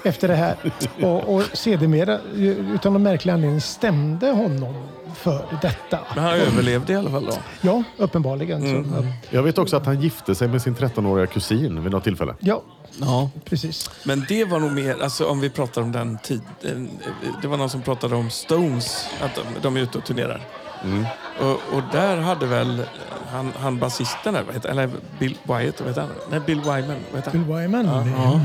Speaker 4: efter det här. Och, och sedermera, ju- utan någon märklig anledning, stämde honom för detta.
Speaker 1: Men han överlevde i alla fall då.
Speaker 4: Ja, uppenbarligen. Så,
Speaker 2: Jag vet också att han gifte sig med sin 13-åriga kusin vid något tillfälle.
Speaker 4: ja,
Speaker 3: Ja.
Speaker 4: precis.
Speaker 1: Men det var nog mer, alltså om vi pratar om den tiden. Det var någon som pratade om Stones, att de, de är ute och turnerar.
Speaker 4: Mm.
Speaker 1: Och, och där hade väl han, han basisten där, vad heter, eller Bill Wyatt, vad heter han? Nej, Bill Wyman, vad heter
Speaker 4: Bill
Speaker 1: han?
Speaker 4: Wyman.
Speaker 1: Ja.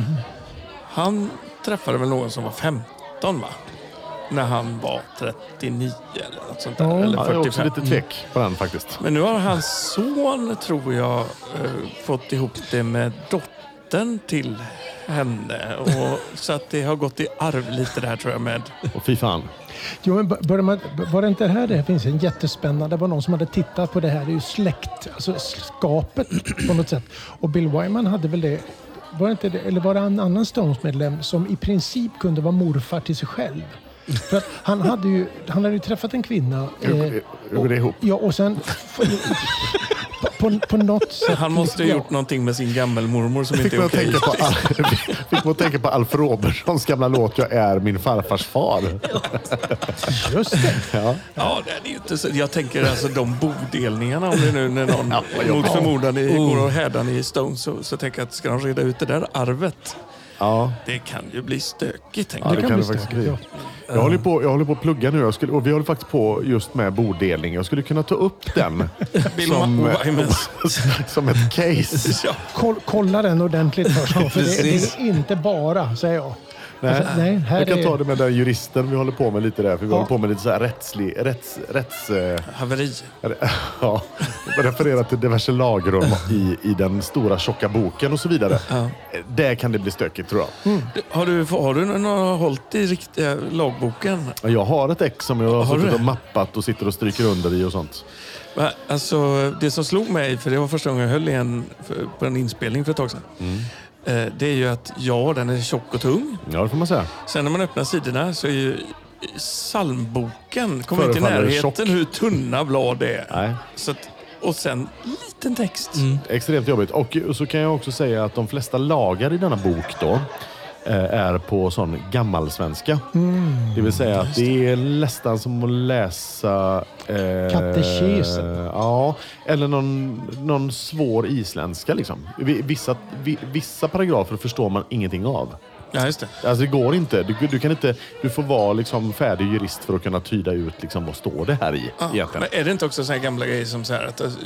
Speaker 1: Han träffade väl någon som var 15 va? När han var 39 eller något sånt där.
Speaker 4: Ja.
Speaker 1: eller
Speaker 2: Ja, jag är också
Speaker 1: 45.
Speaker 2: lite tvek på den faktiskt.
Speaker 1: Men nu har hans son, tror jag, eh, fått ihop det med dottern till henne. Och, så att det har gått i arv lite där tror jag med.
Speaker 2: Och fy fan.
Speaker 4: Jo, men b- börjar man, b- var det inte det här det finns en jättespännande, det var någon som hade tittat på det här, det är ju släkt, alltså skapet på något sätt. Och Bill Wyman hade väl det, var det inte det, eller var det en annan Stones-medlem som i princip kunde vara morfar till sig själv? För att han, hade ju, han hade ju träffat en kvinna. eh,
Speaker 2: Hur hur går det ihop?
Speaker 4: ja, och sen... På, på, på något sätt...
Speaker 1: Han måste ha
Speaker 4: Ja.
Speaker 1: gjort någonting med sin gammelmormor som
Speaker 2: Fick
Speaker 1: inte
Speaker 2: man,
Speaker 1: är
Speaker 2: att
Speaker 1: okej.
Speaker 2: tänka på Al- fick man att tänka på Alf Robertssons gamla låt Jag är min farfars far.
Speaker 4: Just det.
Speaker 2: Ja.
Speaker 1: Ja, det är ju inte så. Jag tänker alltså de bodelningarna om det nu när någon mot förmodan i,
Speaker 2: Oh.
Speaker 1: går och härdar i Stones så, så tänker jag att ska de reda ut det där arvet?
Speaker 2: Ja,
Speaker 1: Det kan ju bli stökigt. Tänker
Speaker 2: ja,
Speaker 1: jag.
Speaker 2: det
Speaker 4: kan
Speaker 2: kan
Speaker 4: bli
Speaker 2: det faktiskt
Speaker 4: stökigt,
Speaker 2: bli.
Speaker 4: ja.
Speaker 2: Jag håller på, jag håller på att plugga nu jag skulle, och vi håller faktiskt på just med bodelning. Jag skulle kunna ta upp den
Speaker 1: Bill
Speaker 2: som,
Speaker 1: Wymans.
Speaker 2: som ett case.
Speaker 1: Ja.
Speaker 4: Koll, kolla den ordentligt först. då, För det, det
Speaker 1: Precis.
Speaker 4: är inte bara, säger jag.
Speaker 2: Nej,
Speaker 4: Alltså, nej, här
Speaker 2: jag Äh, kan
Speaker 4: är-
Speaker 2: ta det med den juristen vi håller på med lite där. För vi
Speaker 4: Ja.
Speaker 2: håller på med lite så här rättslig... Rätts, rätts, eh,
Speaker 1: Haveri.
Speaker 2: ja, referera till diverse lagrum i, i den stora tjocka boken och så vidare. Där kan det bli stökigt tror jag.
Speaker 1: Har du, har du någon hållit i riktiga lagboken?
Speaker 2: Men Jag har ett ex som jag har,
Speaker 1: Har du
Speaker 2: suttit och
Speaker 1: det?
Speaker 2: mappat och sitter och stryker under i och sånt.
Speaker 1: Va, Alltså, det som slog mig, för det var första gången jag höll i en för- på en inspelning för ett tag sedan.
Speaker 2: Mm.
Speaker 1: eh, Det är ju att ja, den är tjock och tung.
Speaker 2: Ja, det får man säga.
Speaker 1: Sen när man öppnar sidorna så är ju psalmboken kommer inte i
Speaker 2: Förefaller
Speaker 1: närheten
Speaker 2: tjock.
Speaker 1: hur tunna blad det är.
Speaker 2: Nej. Mm.
Speaker 1: Så att, och sen liten text.
Speaker 2: Extremt jobbigt. Och så kan jag också säga att de flesta lagar i denna bok då eh, är på sån gammalsvenska. Det vill säga att det är nästan som att läsa... Eh,
Speaker 4: Katekesen.
Speaker 2: Ja, eller någon, någon svår isländska. Liksom. Vi- Vissa, vi- vissa paragrafer förstår man ingenting av.
Speaker 1: Ja, just det.
Speaker 2: Alltså det går inte. Du, du, kan inte, du får vara liksom färdig jurist för att kunna tyda ut liksom, vad står det här i.
Speaker 1: Ja,
Speaker 2: egentligen.
Speaker 1: Ah, men är det inte också sådana gamla grejer som så här att alltså,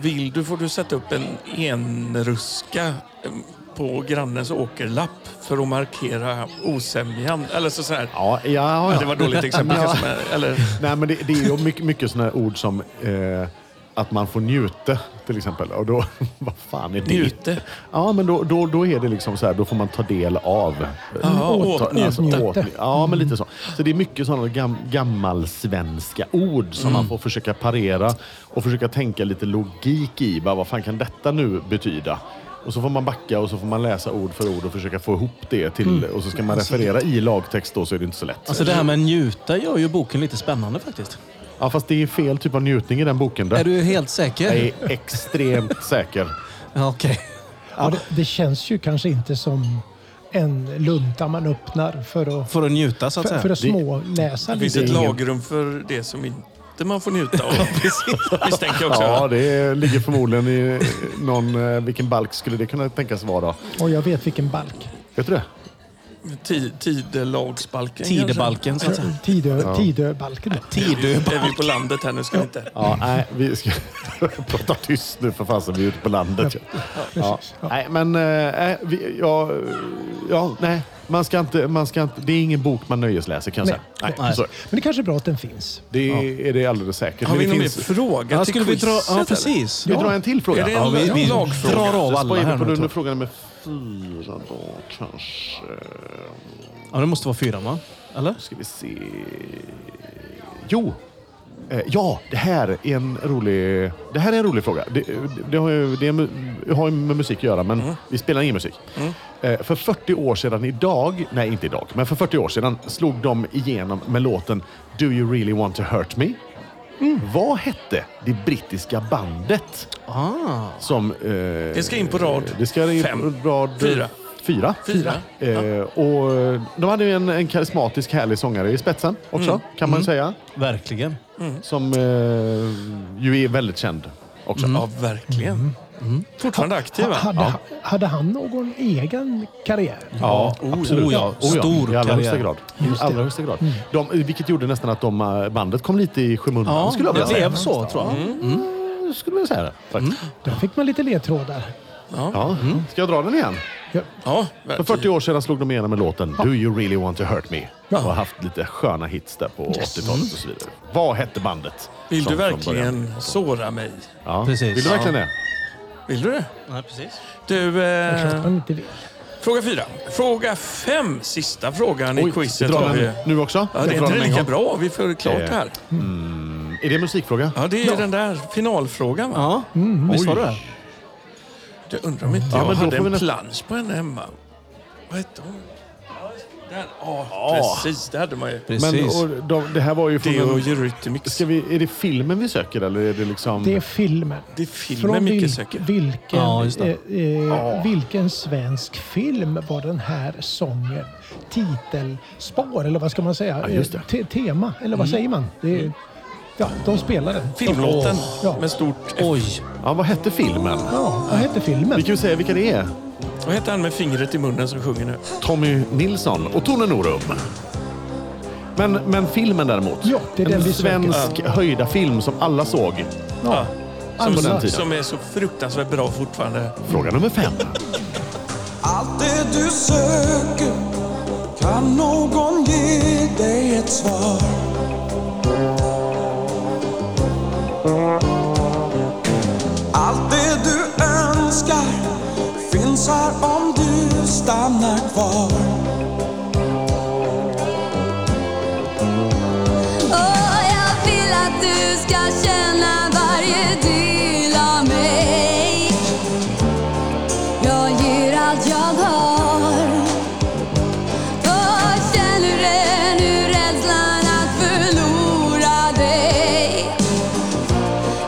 Speaker 1: vill du får du sätta upp en enruska em, på grannens åkerlapp för att markera osämjan. Eller så, så här.
Speaker 2: Ja, ja, ja.
Speaker 1: Ja, det var ett dåligt exempel
Speaker 2: Ja.
Speaker 1: kanske. Men, eller,
Speaker 2: Nej, men det, det är ju mycket, mycket sådana här ord som eh, att man får njuta till exempel. Och då, vad fan är det?
Speaker 1: Njute.
Speaker 2: Ja, men då, då, då är det liksom så här, då får man ta del av.
Speaker 1: Ja, åt-
Speaker 2: Ta- alltså,
Speaker 4: åtnjuta.
Speaker 2: åt- Ja, men lite så. Så det är mycket sådana gam, gammalsvenska ord som man får försöka parera och försöka tänka lite logik i. Bara, vad fan kan detta nu betyda? Och så får man backa och så får man läsa ord för ord och försöka få ihop det till... Och så ska man referera i lagtext då så är det inte så lätt.
Speaker 3: Alltså det här med njuta gör ju boken lite spännande faktiskt.
Speaker 2: Ja, fast det är fel typ av njutning i den boken. Där.
Speaker 3: Är du helt säker?
Speaker 2: Jag är extremt säker.
Speaker 3: Ja, Okej.
Speaker 4: Ja, det, det känns ju kanske inte som en lunta man öppnar för att,
Speaker 3: För att njuta så att
Speaker 4: för,
Speaker 3: säga.
Speaker 4: för att småläsa
Speaker 1: det finns
Speaker 4: lite.
Speaker 1: ett
Speaker 2: är ingen-
Speaker 1: lagrum för det som inte man får njuta av. Misstänker jag också.
Speaker 2: Ja, det ligger förmodligen i någon... eh, Vilken balk skulle det kunna tänkas vara? då?
Speaker 4: Och jag vet vilken balk.
Speaker 2: Vet du det?
Speaker 1: Tid, tidelagsbalken
Speaker 3: Tidebalken så att säga.
Speaker 4: Tidö, Tidöbalken.
Speaker 1: kanske.
Speaker 3: Tidö.
Speaker 1: Nu är vi på landet här nu, ska vi inte...
Speaker 2: Ja, nej, vi ska prata tyst nu för fasen. Vi är ute på landet. ju. Ja.
Speaker 4: Precis. Ja.
Speaker 2: Nej, men... eh, nej, vi, ja, ja, nej. Man ska inte, man ska inte, det är ingen bok man nöjesläser kan jag
Speaker 4: Nej,
Speaker 2: säga.
Speaker 4: nej.
Speaker 2: så,
Speaker 4: Men det kanske är bra att den finns.
Speaker 2: det är det alldeles säkert.
Speaker 1: Har
Speaker 2: Men
Speaker 1: vi
Speaker 2: det
Speaker 1: någon mer
Speaker 2: finns-
Speaker 1: fråga
Speaker 3: Ja,
Speaker 1: till
Speaker 3: skulle vi dra...
Speaker 1: quizet,
Speaker 3: Ja,
Speaker 1: eller?
Speaker 3: precis.
Speaker 2: Ska vi dra en till fråga?
Speaker 1: Är det en
Speaker 2: Ja, vi-
Speaker 3: vi
Speaker 1: lagfråga?
Speaker 3: drar av alla
Speaker 2: Vad är
Speaker 3: här
Speaker 2: vi på
Speaker 3: nu, typ.
Speaker 2: den
Speaker 3: tror
Speaker 2: nu?
Speaker 3: jag.
Speaker 2: Fråga nummer fyra då kanske.
Speaker 3: Ja, det måste vara fyran va? Eller?
Speaker 2: ska vi se. Jo! Eh, ja, det här är en rolig, det här är en rolig fråga. Det, det, har, ju, det är, mu- har ju med musik att göra, men
Speaker 1: Mm.
Speaker 2: vi spelar ingen musik. Eh, för 40 år sedan idag, nej inte idag, men för 40 år sedan slog de igenom med låten Do You Really Want To Hurt Me?
Speaker 1: Mm.
Speaker 2: Vad hette det brittiska bandet
Speaker 3: Ah.
Speaker 2: som... eh,
Speaker 1: Det ska in på rad
Speaker 2: det ska in
Speaker 1: fem.
Speaker 2: på rad
Speaker 1: Fyra.
Speaker 2: fyra.
Speaker 1: Fyra.
Speaker 2: Eh, och eh, de hade ju en, en karismatisk, härlig sångare i spetsen också,
Speaker 3: Mm.
Speaker 2: kan man ju säga.
Speaker 3: Verkligen.
Speaker 2: Oh, Som eh, ju är väldigt känd också.
Speaker 3: Mm.
Speaker 1: Ja, verkligen.
Speaker 2: Mm.
Speaker 1: Fortfarande aktiva.
Speaker 4: Hade,
Speaker 2: Ja.
Speaker 4: hade han någon egen karriär?
Speaker 2: Ja, absolut.
Speaker 3: Oh ja, stor
Speaker 2: I allra högsta
Speaker 3: karriär. Mm.
Speaker 2: grad. I allra högsta grad. De, vilket gjorde nästan att de, eh, bandet kom lite i skymundan,
Speaker 3: Ja,
Speaker 2: skulle jag vilja
Speaker 3: det
Speaker 2: säga.
Speaker 3: blev så tror jag.
Speaker 2: Mm, Skulle jag säga det. faktiskt.
Speaker 3: Mm.
Speaker 4: Där fick man lite ledtrådar.
Speaker 2: Ja. Ska jag dra den igen?
Speaker 1: Ja,
Speaker 2: För 40 år sedan slog de igenom med låten Do You Really Want To Hurt Me. Och har haft lite sköna hits där på 80-talet och så vidare. Vad hette bandet?
Speaker 1: Vill
Speaker 2: som
Speaker 1: du
Speaker 2: från början-
Speaker 1: verkligen såra mig?
Speaker 2: Ja.
Speaker 3: Precis.
Speaker 2: Vill du verkligen det?
Speaker 1: Vill du det?
Speaker 3: Nej, precis.
Speaker 1: Du,
Speaker 4: Att
Speaker 1: eh,
Speaker 4: man inte vill.
Speaker 1: fråga fyra. Fråga fem, sista frågan i quizet.
Speaker 2: drar
Speaker 1: Har
Speaker 2: den
Speaker 1: vi.
Speaker 2: nu också?
Speaker 1: Ja, det är
Speaker 2: Jag drar
Speaker 1: inte
Speaker 2: den en
Speaker 1: lika
Speaker 2: gång.
Speaker 1: bra. Vi får klart
Speaker 2: Eh.
Speaker 1: det här.
Speaker 2: Är det en musikfråga?
Speaker 1: Ja, det är den där finalfrågan. Va?
Speaker 3: Ja,
Speaker 2: Mm.
Speaker 3: visst var det det?
Speaker 1: Jag undrar om inte
Speaker 2: Ja,
Speaker 1: jag
Speaker 2: men då
Speaker 1: hade
Speaker 2: får vi
Speaker 1: en
Speaker 2: nä-
Speaker 1: plansch på henne hemma. Vad hette hon? Där, ja, precis. Det hade man ju.
Speaker 2: Men,
Speaker 3: Precis.
Speaker 2: och de, det här var ju från
Speaker 1: Det och
Speaker 2: en,
Speaker 1: Eurythmics.
Speaker 2: ska vi, Är det filmen vi söker eller är det liksom...
Speaker 4: Det är filmen.
Speaker 1: Det är filmen
Speaker 4: Från
Speaker 1: Micke
Speaker 4: vil-
Speaker 1: söker.
Speaker 4: Vilken,
Speaker 3: Ja, just det.
Speaker 4: eh, eh, vilken svensk film var den här sången titelspår? Eller vad ska man säga?
Speaker 2: Ja, just det.
Speaker 4: Eh, te- Tema, eller vad säger man? Det är, ja, de spelar den.
Speaker 1: Filmlåten
Speaker 4: Ja.
Speaker 1: med stort F.
Speaker 3: Oj.
Speaker 2: Ja, vad hette filmen?
Speaker 4: Ja, vad hette filmen?
Speaker 2: Vi kan ju säga vilka det är.
Speaker 1: Vad heter han med fingret i munnen som sjunger nu?
Speaker 2: Tommy Nilsson och Tone Norum. Men, men filmen däremot.
Speaker 4: Ja, det är
Speaker 2: en
Speaker 4: den vi söker.
Speaker 2: svensk höjda film som alla såg.
Speaker 1: Ja. Som,
Speaker 4: på
Speaker 1: som,
Speaker 4: den
Speaker 2: tiden.
Speaker 1: är så fruktansvärt bra fortfarande.
Speaker 2: Fråga nummer fem.
Speaker 6: Allt det du söker kan någon ge dig ett svar. Allt det du önskar finns här om du stannar kvar.
Speaker 9: Åh, jag vill att du ska känna varje del av mig Jag ger allt jag har Åh, känner du nu rädslan att förlora dig?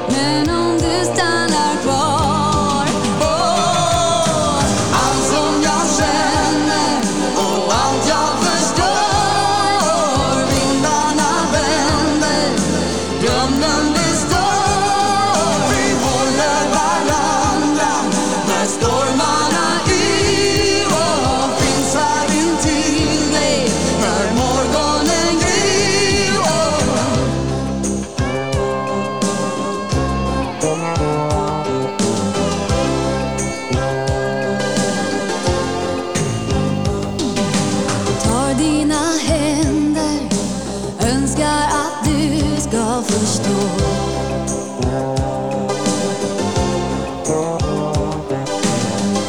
Speaker 9: Men om du stannar kvar Åh, allt som jag känner och allt jag förstår Vindarna vänder, drömmen består Vi håller varandra när stormarna yr och finns här intill dig när morgonen gryr Åh, Tar dina händer Önskar att du ska förstå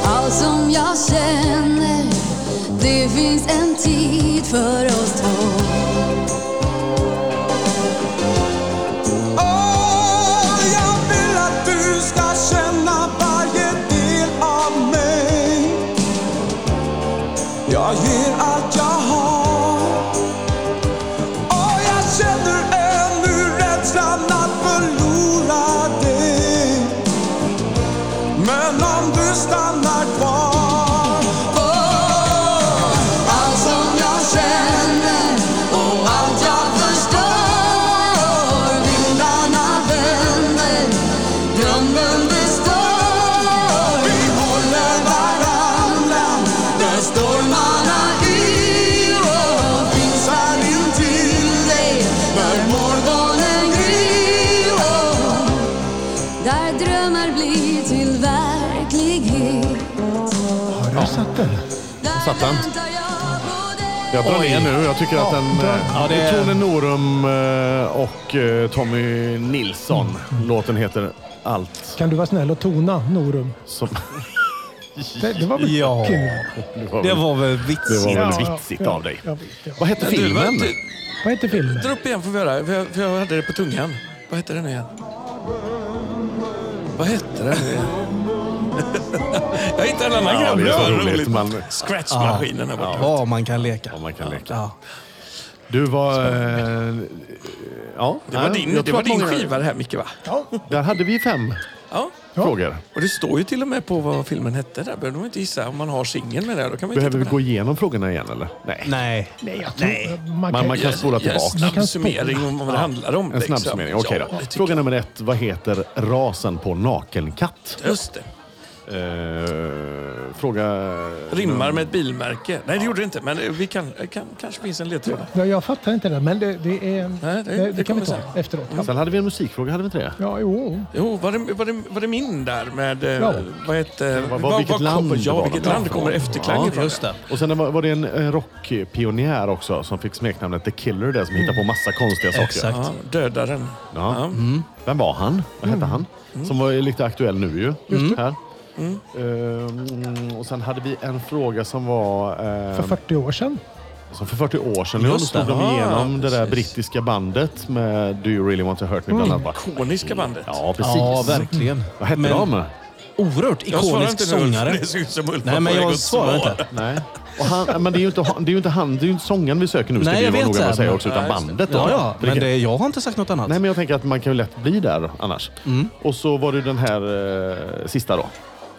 Speaker 9: Allt som jag känner Det finns en tid för oss två
Speaker 6: Åh, jag vill att du ska känna varje del av mig. Jag ger allt jag har. Och jag känner ännu rädslan att förlora dig. Men om du stannar kvar.
Speaker 9: Allt som jag känner och allt jag förstår Vindarna vänder, drömmen består
Speaker 6: Vi håller varandra när stormarna yr och finns här intill dig när morgonen gryr. Och
Speaker 9: Där drömmar blir till verklighet
Speaker 4: Har du satt den?
Speaker 9: Där
Speaker 2: Satt han?
Speaker 9: väntar jag på dig
Speaker 2: Jag drar ner nu. Jag tycker att den... Ja, det
Speaker 3: det-
Speaker 2: är Tone Norum eh, och eh, Tommy Nilsson. Låten heter Allt
Speaker 4: Kan du vara snäll och tona Norum?
Speaker 2: som...
Speaker 4: Det, det var väl
Speaker 3: Ja.
Speaker 4: kul?
Speaker 3: Det
Speaker 2: väl-
Speaker 3: var väl
Speaker 2: det
Speaker 3: vitsigt.
Speaker 2: var väl
Speaker 4: Ja, ja,
Speaker 2: vitsigt
Speaker 4: ja,
Speaker 2: av dig.
Speaker 4: jag vet, ja.
Speaker 2: Vad hette
Speaker 1: Du, vad-
Speaker 2: filmen?
Speaker 1: du-
Speaker 4: Vad hette filmen?
Speaker 1: Dra upp igen får vi höra. För jag, för jag hade det på tungan. Vad hette den igen? Vad hette den nu igen? jag hittade en annan
Speaker 2: Ja,
Speaker 1: grej.
Speaker 2: det är
Speaker 1: var
Speaker 2: så roligt. Man-
Speaker 1: Scratchmaskinen där borta.
Speaker 3: Vad man kan leka.
Speaker 2: Ja, man kan leka.
Speaker 3: Ja.
Speaker 2: Du var... eh, Ja,
Speaker 1: Det var
Speaker 2: nej,
Speaker 1: din,
Speaker 2: jag
Speaker 1: det
Speaker 2: tror
Speaker 1: var
Speaker 2: att
Speaker 1: din
Speaker 2: många-
Speaker 1: skiva det här Micke va?
Speaker 2: Där hade vi fem
Speaker 1: Ja.
Speaker 2: frågor.
Speaker 1: Och det står ju till och med på vad filmen hette. Där behöver man inte gissa om man har singeln med det. här, Då kan man ju
Speaker 2: Behöver vi
Speaker 1: titta på
Speaker 2: gå igenom frågorna igen eller? Nej.
Speaker 3: Nej.
Speaker 4: Nej, jag tror, Man
Speaker 2: Man,
Speaker 4: kan,
Speaker 2: man kan
Speaker 1: den.
Speaker 2: spola tillbaka.
Speaker 1: Ja, en snabb
Speaker 4: kan
Speaker 1: summering om vad det handlar om.
Speaker 2: En
Speaker 1: liksom.
Speaker 2: snabb summering. Okej
Speaker 1: Ja, det
Speaker 2: då.
Speaker 1: tycker
Speaker 2: Fråga nummer ett. Vad heter rasen på nakenkatt?
Speaker 1: jag. Just det.
Speaker 2: Eh, fråga...
Speaker 1: Rimmar med ett bilmärke. Nej, det gjorde det inte. Men vi kan, kan, kanske finns en ledtråd. där.
Speaker 4: Ja, jag fattar inte det, men det, det, är,
Speaker 1: det-
Speaker 4: det, det,
Speaker 1: det
Speaker 4: kan
Speaker 1: kommer
Speaker 4: vi ta
Speaker 1: sen.
Speaker 4: efteråt. Ja,
Speaker 2: Sen hade vi en musikfråga, hade vi inte det?
Speaker 4: ja jo.
Speaker 1: Jo, var det, var, det, var det min där med... eh,
Speaker 4: Ja.
Speaker 1: Vad hette...
Speaker 2: Vad- vad- vilket land
Speaker 1: kommer, ja,
Speaker 2: var
Speaker 1: vilket
Speaker 2: det?
Speaker 1: land kommer efterklangen
Speaker 2: Ja,
Speaker 1: ifrån?
Speaker 3: Just det.
Speaker 2: Och sen var, var det en, en rockpionjär också som fick smeknamnet The Killer där som hittade på massa konstiga saker.
Speaker 3: Exakt.
Speaker 1: Ja, dödaren.
Speaker 2: Ja. Mm. Vem var han? Vad
Speaker 3: Mm.
Speaker 2: hette han? Som var lite aktuell nu ju. Just här.
Speaker 3: Mm.
Speaker 2: Ehm, och sen hade vi en fråga som var... ehm,
Speaker 4: För 40 år sedan.
Speaker 2: Som för 40 år sedan. Just
Speaker 3: Just
Speaker 2: då
Speaker 3: det.
Speaker 2: slog de
Speaker 1: Ah,
Speaker 2: igenom det där
Speaker 1: precis.
Speaker 2: brittiska bandet med Do You Really Want To Hurt Me bland annat.
Speaker 1: Ikoniska bandet.
Speaker 2: Ja, precis.
Speaker 3: Mm. Ja, verkligen.
Speaker 2: Vad hette
Speaker 3: Men
Speaker 2: de?
Speaker 3: Oerhört
Speaker 1: Jag svarar
Speaker 3: ikonisk
Speaker 1: inte nu, för
Speaker 3: sångare.
Speaker 1: det ser ut som Ulf var
Speaker 3: Nej, men
Speaker 1: på väg
Speaker 3: jag
Speaker 1: att svara.
Speaker 3: svarar inte.
Speaker 2: Nej. Och han, men det är ju inte, han- det är ju inte han, det är ju inte sången vi söker nu, ska
Speaker 3: Nej,
Speaker 2: vi
Speaker 3: jag
Speaker 2: vara
Speaker 3: vet
Speaker 2: noga med
Speaker 3: det,
Speaker 2: att säga
Speaker 3: men-
Speaker 2: också, utan
Speaker 1: Ja, just det.
Speaker 2: bandet. Då.
Speaker 3: Ja, ja. Men
Speaker 2: Vilket-
Speaker 3: det, jag har inte sagt något annat.
Speaker 2: Nej, men jag tänker att man kan ju lätt bli där annars. Och så var det den här eh, sista då.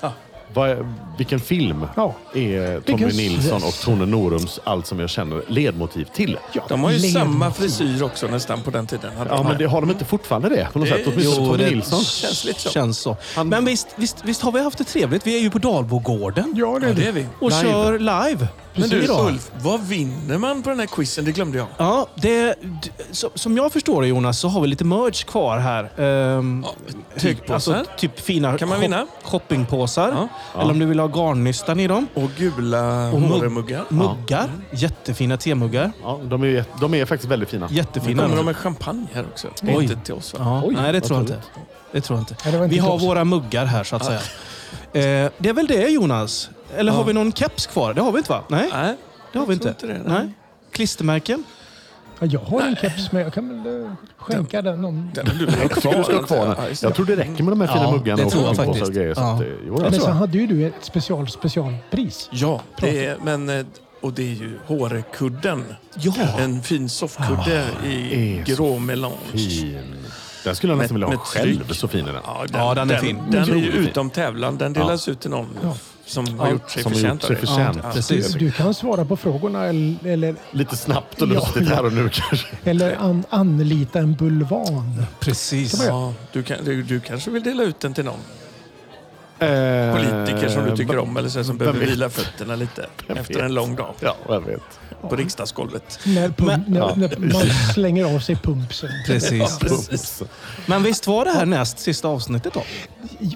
Speaker 1: Ja.
Speaker 2: Vad- vilken film
Speaker 4: Ja.
Speaker 2: är Tommy
Speaker 4: Vilken-
Speaker 2: Nilsson och Tone Norums Allt som jag känner ledmotiv till? Ja,
Speaker 1: De har ju
Speaker 4: Ledmotiv.
Speaker 1: samma frisyr också nästan på den tiden. hade de
Speaker 2: men
Speaker 1: här.
Speaker 2: det, har de inte fortfarande det? På något sätt? Åtminstone Tommy Nilsson.
Speaker 1: känns lite så.
Speaker 3: Känns så.
Speaker 2: Han-
Speaker 3: Men visst, visst, visst har vi haft det trevligt? Vi är ju på Dalbogården
Speaker 4: Ja, det
Speaker 1: Ja,
Speaker 4: är
Speaker 1: det
Speaker 4: det.
Speaker 1: är vi.
Speaker 3: och
Speaker 2: Live.
Speaker 3: kör live.
Speaker 1: Men du
Speaker 3: Idag.
Speaker 1: Ulf, vad vinner man på den här quizen? Det glömde jag.
Speaker 3: Ja, det, d- så, som jag förstår det Jonas så har vi lite merch kvar här. Ehm,
Speaker 1: typ
Speaker 3: alltså,
Speaker 1: påsar.
Speaker 3: typ fina
Speaker 1: Kan man
Speaker 3: shop-
Speaker 1: vinna?
Speaker 3: shoppingpåsar.
Speaker 1: Ja.
Speaker 3: Eller om du vill ha garnnystan i dem.
Speaker 1: Och gula
Speaker 3: mugg-
Speaker 1: Åremuggar.
Speaker 3: Muggar. Jättefina temuggar.
Speaker 2: Ja, de, är, ju jätte- de är faktiskt väldigt fina.
Speaker 3: Jättefina.
Speaker 1: Kommer de med champagne här också? Det är
Speaker 3: Oj.
Speaker 1: inte till oss va?
Speaker 3: Ja,
Speaker 2: Oj,
Speaker 3: nej, det
Speaker 2: vad
Speaker 3: tror jag inte.
Speaker 2: trevligt.
Speaker 3: Det tror jag inte.
Speaker 4: Nej, det var inte
Speaker 3: vi har
Speaker 4: klokt.
Speaker 3: våra muggar här så att säga. Eh, det är väl det Jonas? Eller har vi någon keps kvar? Det har vi inte va? Nej,
Speaker 1: Nej,
Speaker 3: det har vi inte.
Speaker 1: jag tror det, nej.
Speaker 3: nej. Klistermärken?
Speaker 4: Ja, jag har en keps men jag kan väl eh, skänka den om...
Speaker 1: Den har du väl
Speaker 2: Jag tycker du ska ha kvar
Speaker 1: Ja,
Speaker 2: den.
Speaker 1: just det.
Speaker 2: Jag tror det räcker med de här fina
Speaker 3: Ja,
Speaker 2: muggarna
Speaker 3: det tror jag
Speaker 2: och shoppingpåsar
Speaker 3: faktiskt.
Speaker 2: och grejer. Så
Speaker 3: Ja.
Speaker 2: att, eh, jo, det
Speaker 4: Men
Speaker 2: tror
Speaker 4: sen
Speaker 2: jag.
Speaker 4: hade ju du ett special specialpris.
Speaker 1: Ja, det är, men, eh, och det är ju hårekudden.
Speaker 3: Ja.
Speaker 1: En fin soffkudde i
Speaker 2: är så
Speaker 1: grå melange.
Speaker 2: Fin. Den skulle jag nästan vilja ha
Speaker 1: med tryck.
Speaker 2: själv, så fin är den.
Speaker 3: Ja, den är fin.
Speaker 1: Den är ju
Speaker 2: Otroligt fin.
Speaker 1: utom tävlan. Den delas ut till någon som har gjort sig
Speaker 2: Som har
Speaker 1: förtjänt
Speaker 2: gjort
Speaker 1: av
Speaker 2: sig
Speaker 1: det.
Speaker 2: förtjänt.
Speaker 3: Precis.
Speaker 4: Du kan svara på frågorna eller, eller,
Speaker 2: Lite snabbt och
Speaker 4: Ja,
Speaker 2: lustigt
Speaker 4: ja.
Speaker 2: här och nu kanske.
Speaker 4: eller an, anlita en bulvan.
Speaker 3: Precis.
Speaker 1: Ja, du, kan, du, du kanske vill dela ut den till någon politiker
Speaker 2: Eh, Politiker
Speaker 1: som du tycker om eller så, som behöver
Speaker 2: vet?
Speaker 1: vila fötterna lite efter
Speaker 2: vet?
Speaker 1: en lång dag
Speaker 2: Ja, jag vet.
Speaker 1: på riksdagsgolvet.
Speaker 4: När, pump,
Speaker 3: Men-
Speaker 4: när, när man slänger av sig pumpsen.
Speaker 3: Precis.
Speaker 1: Precis.
Speaker 3: Men visst var det här näst sista avsnittet då?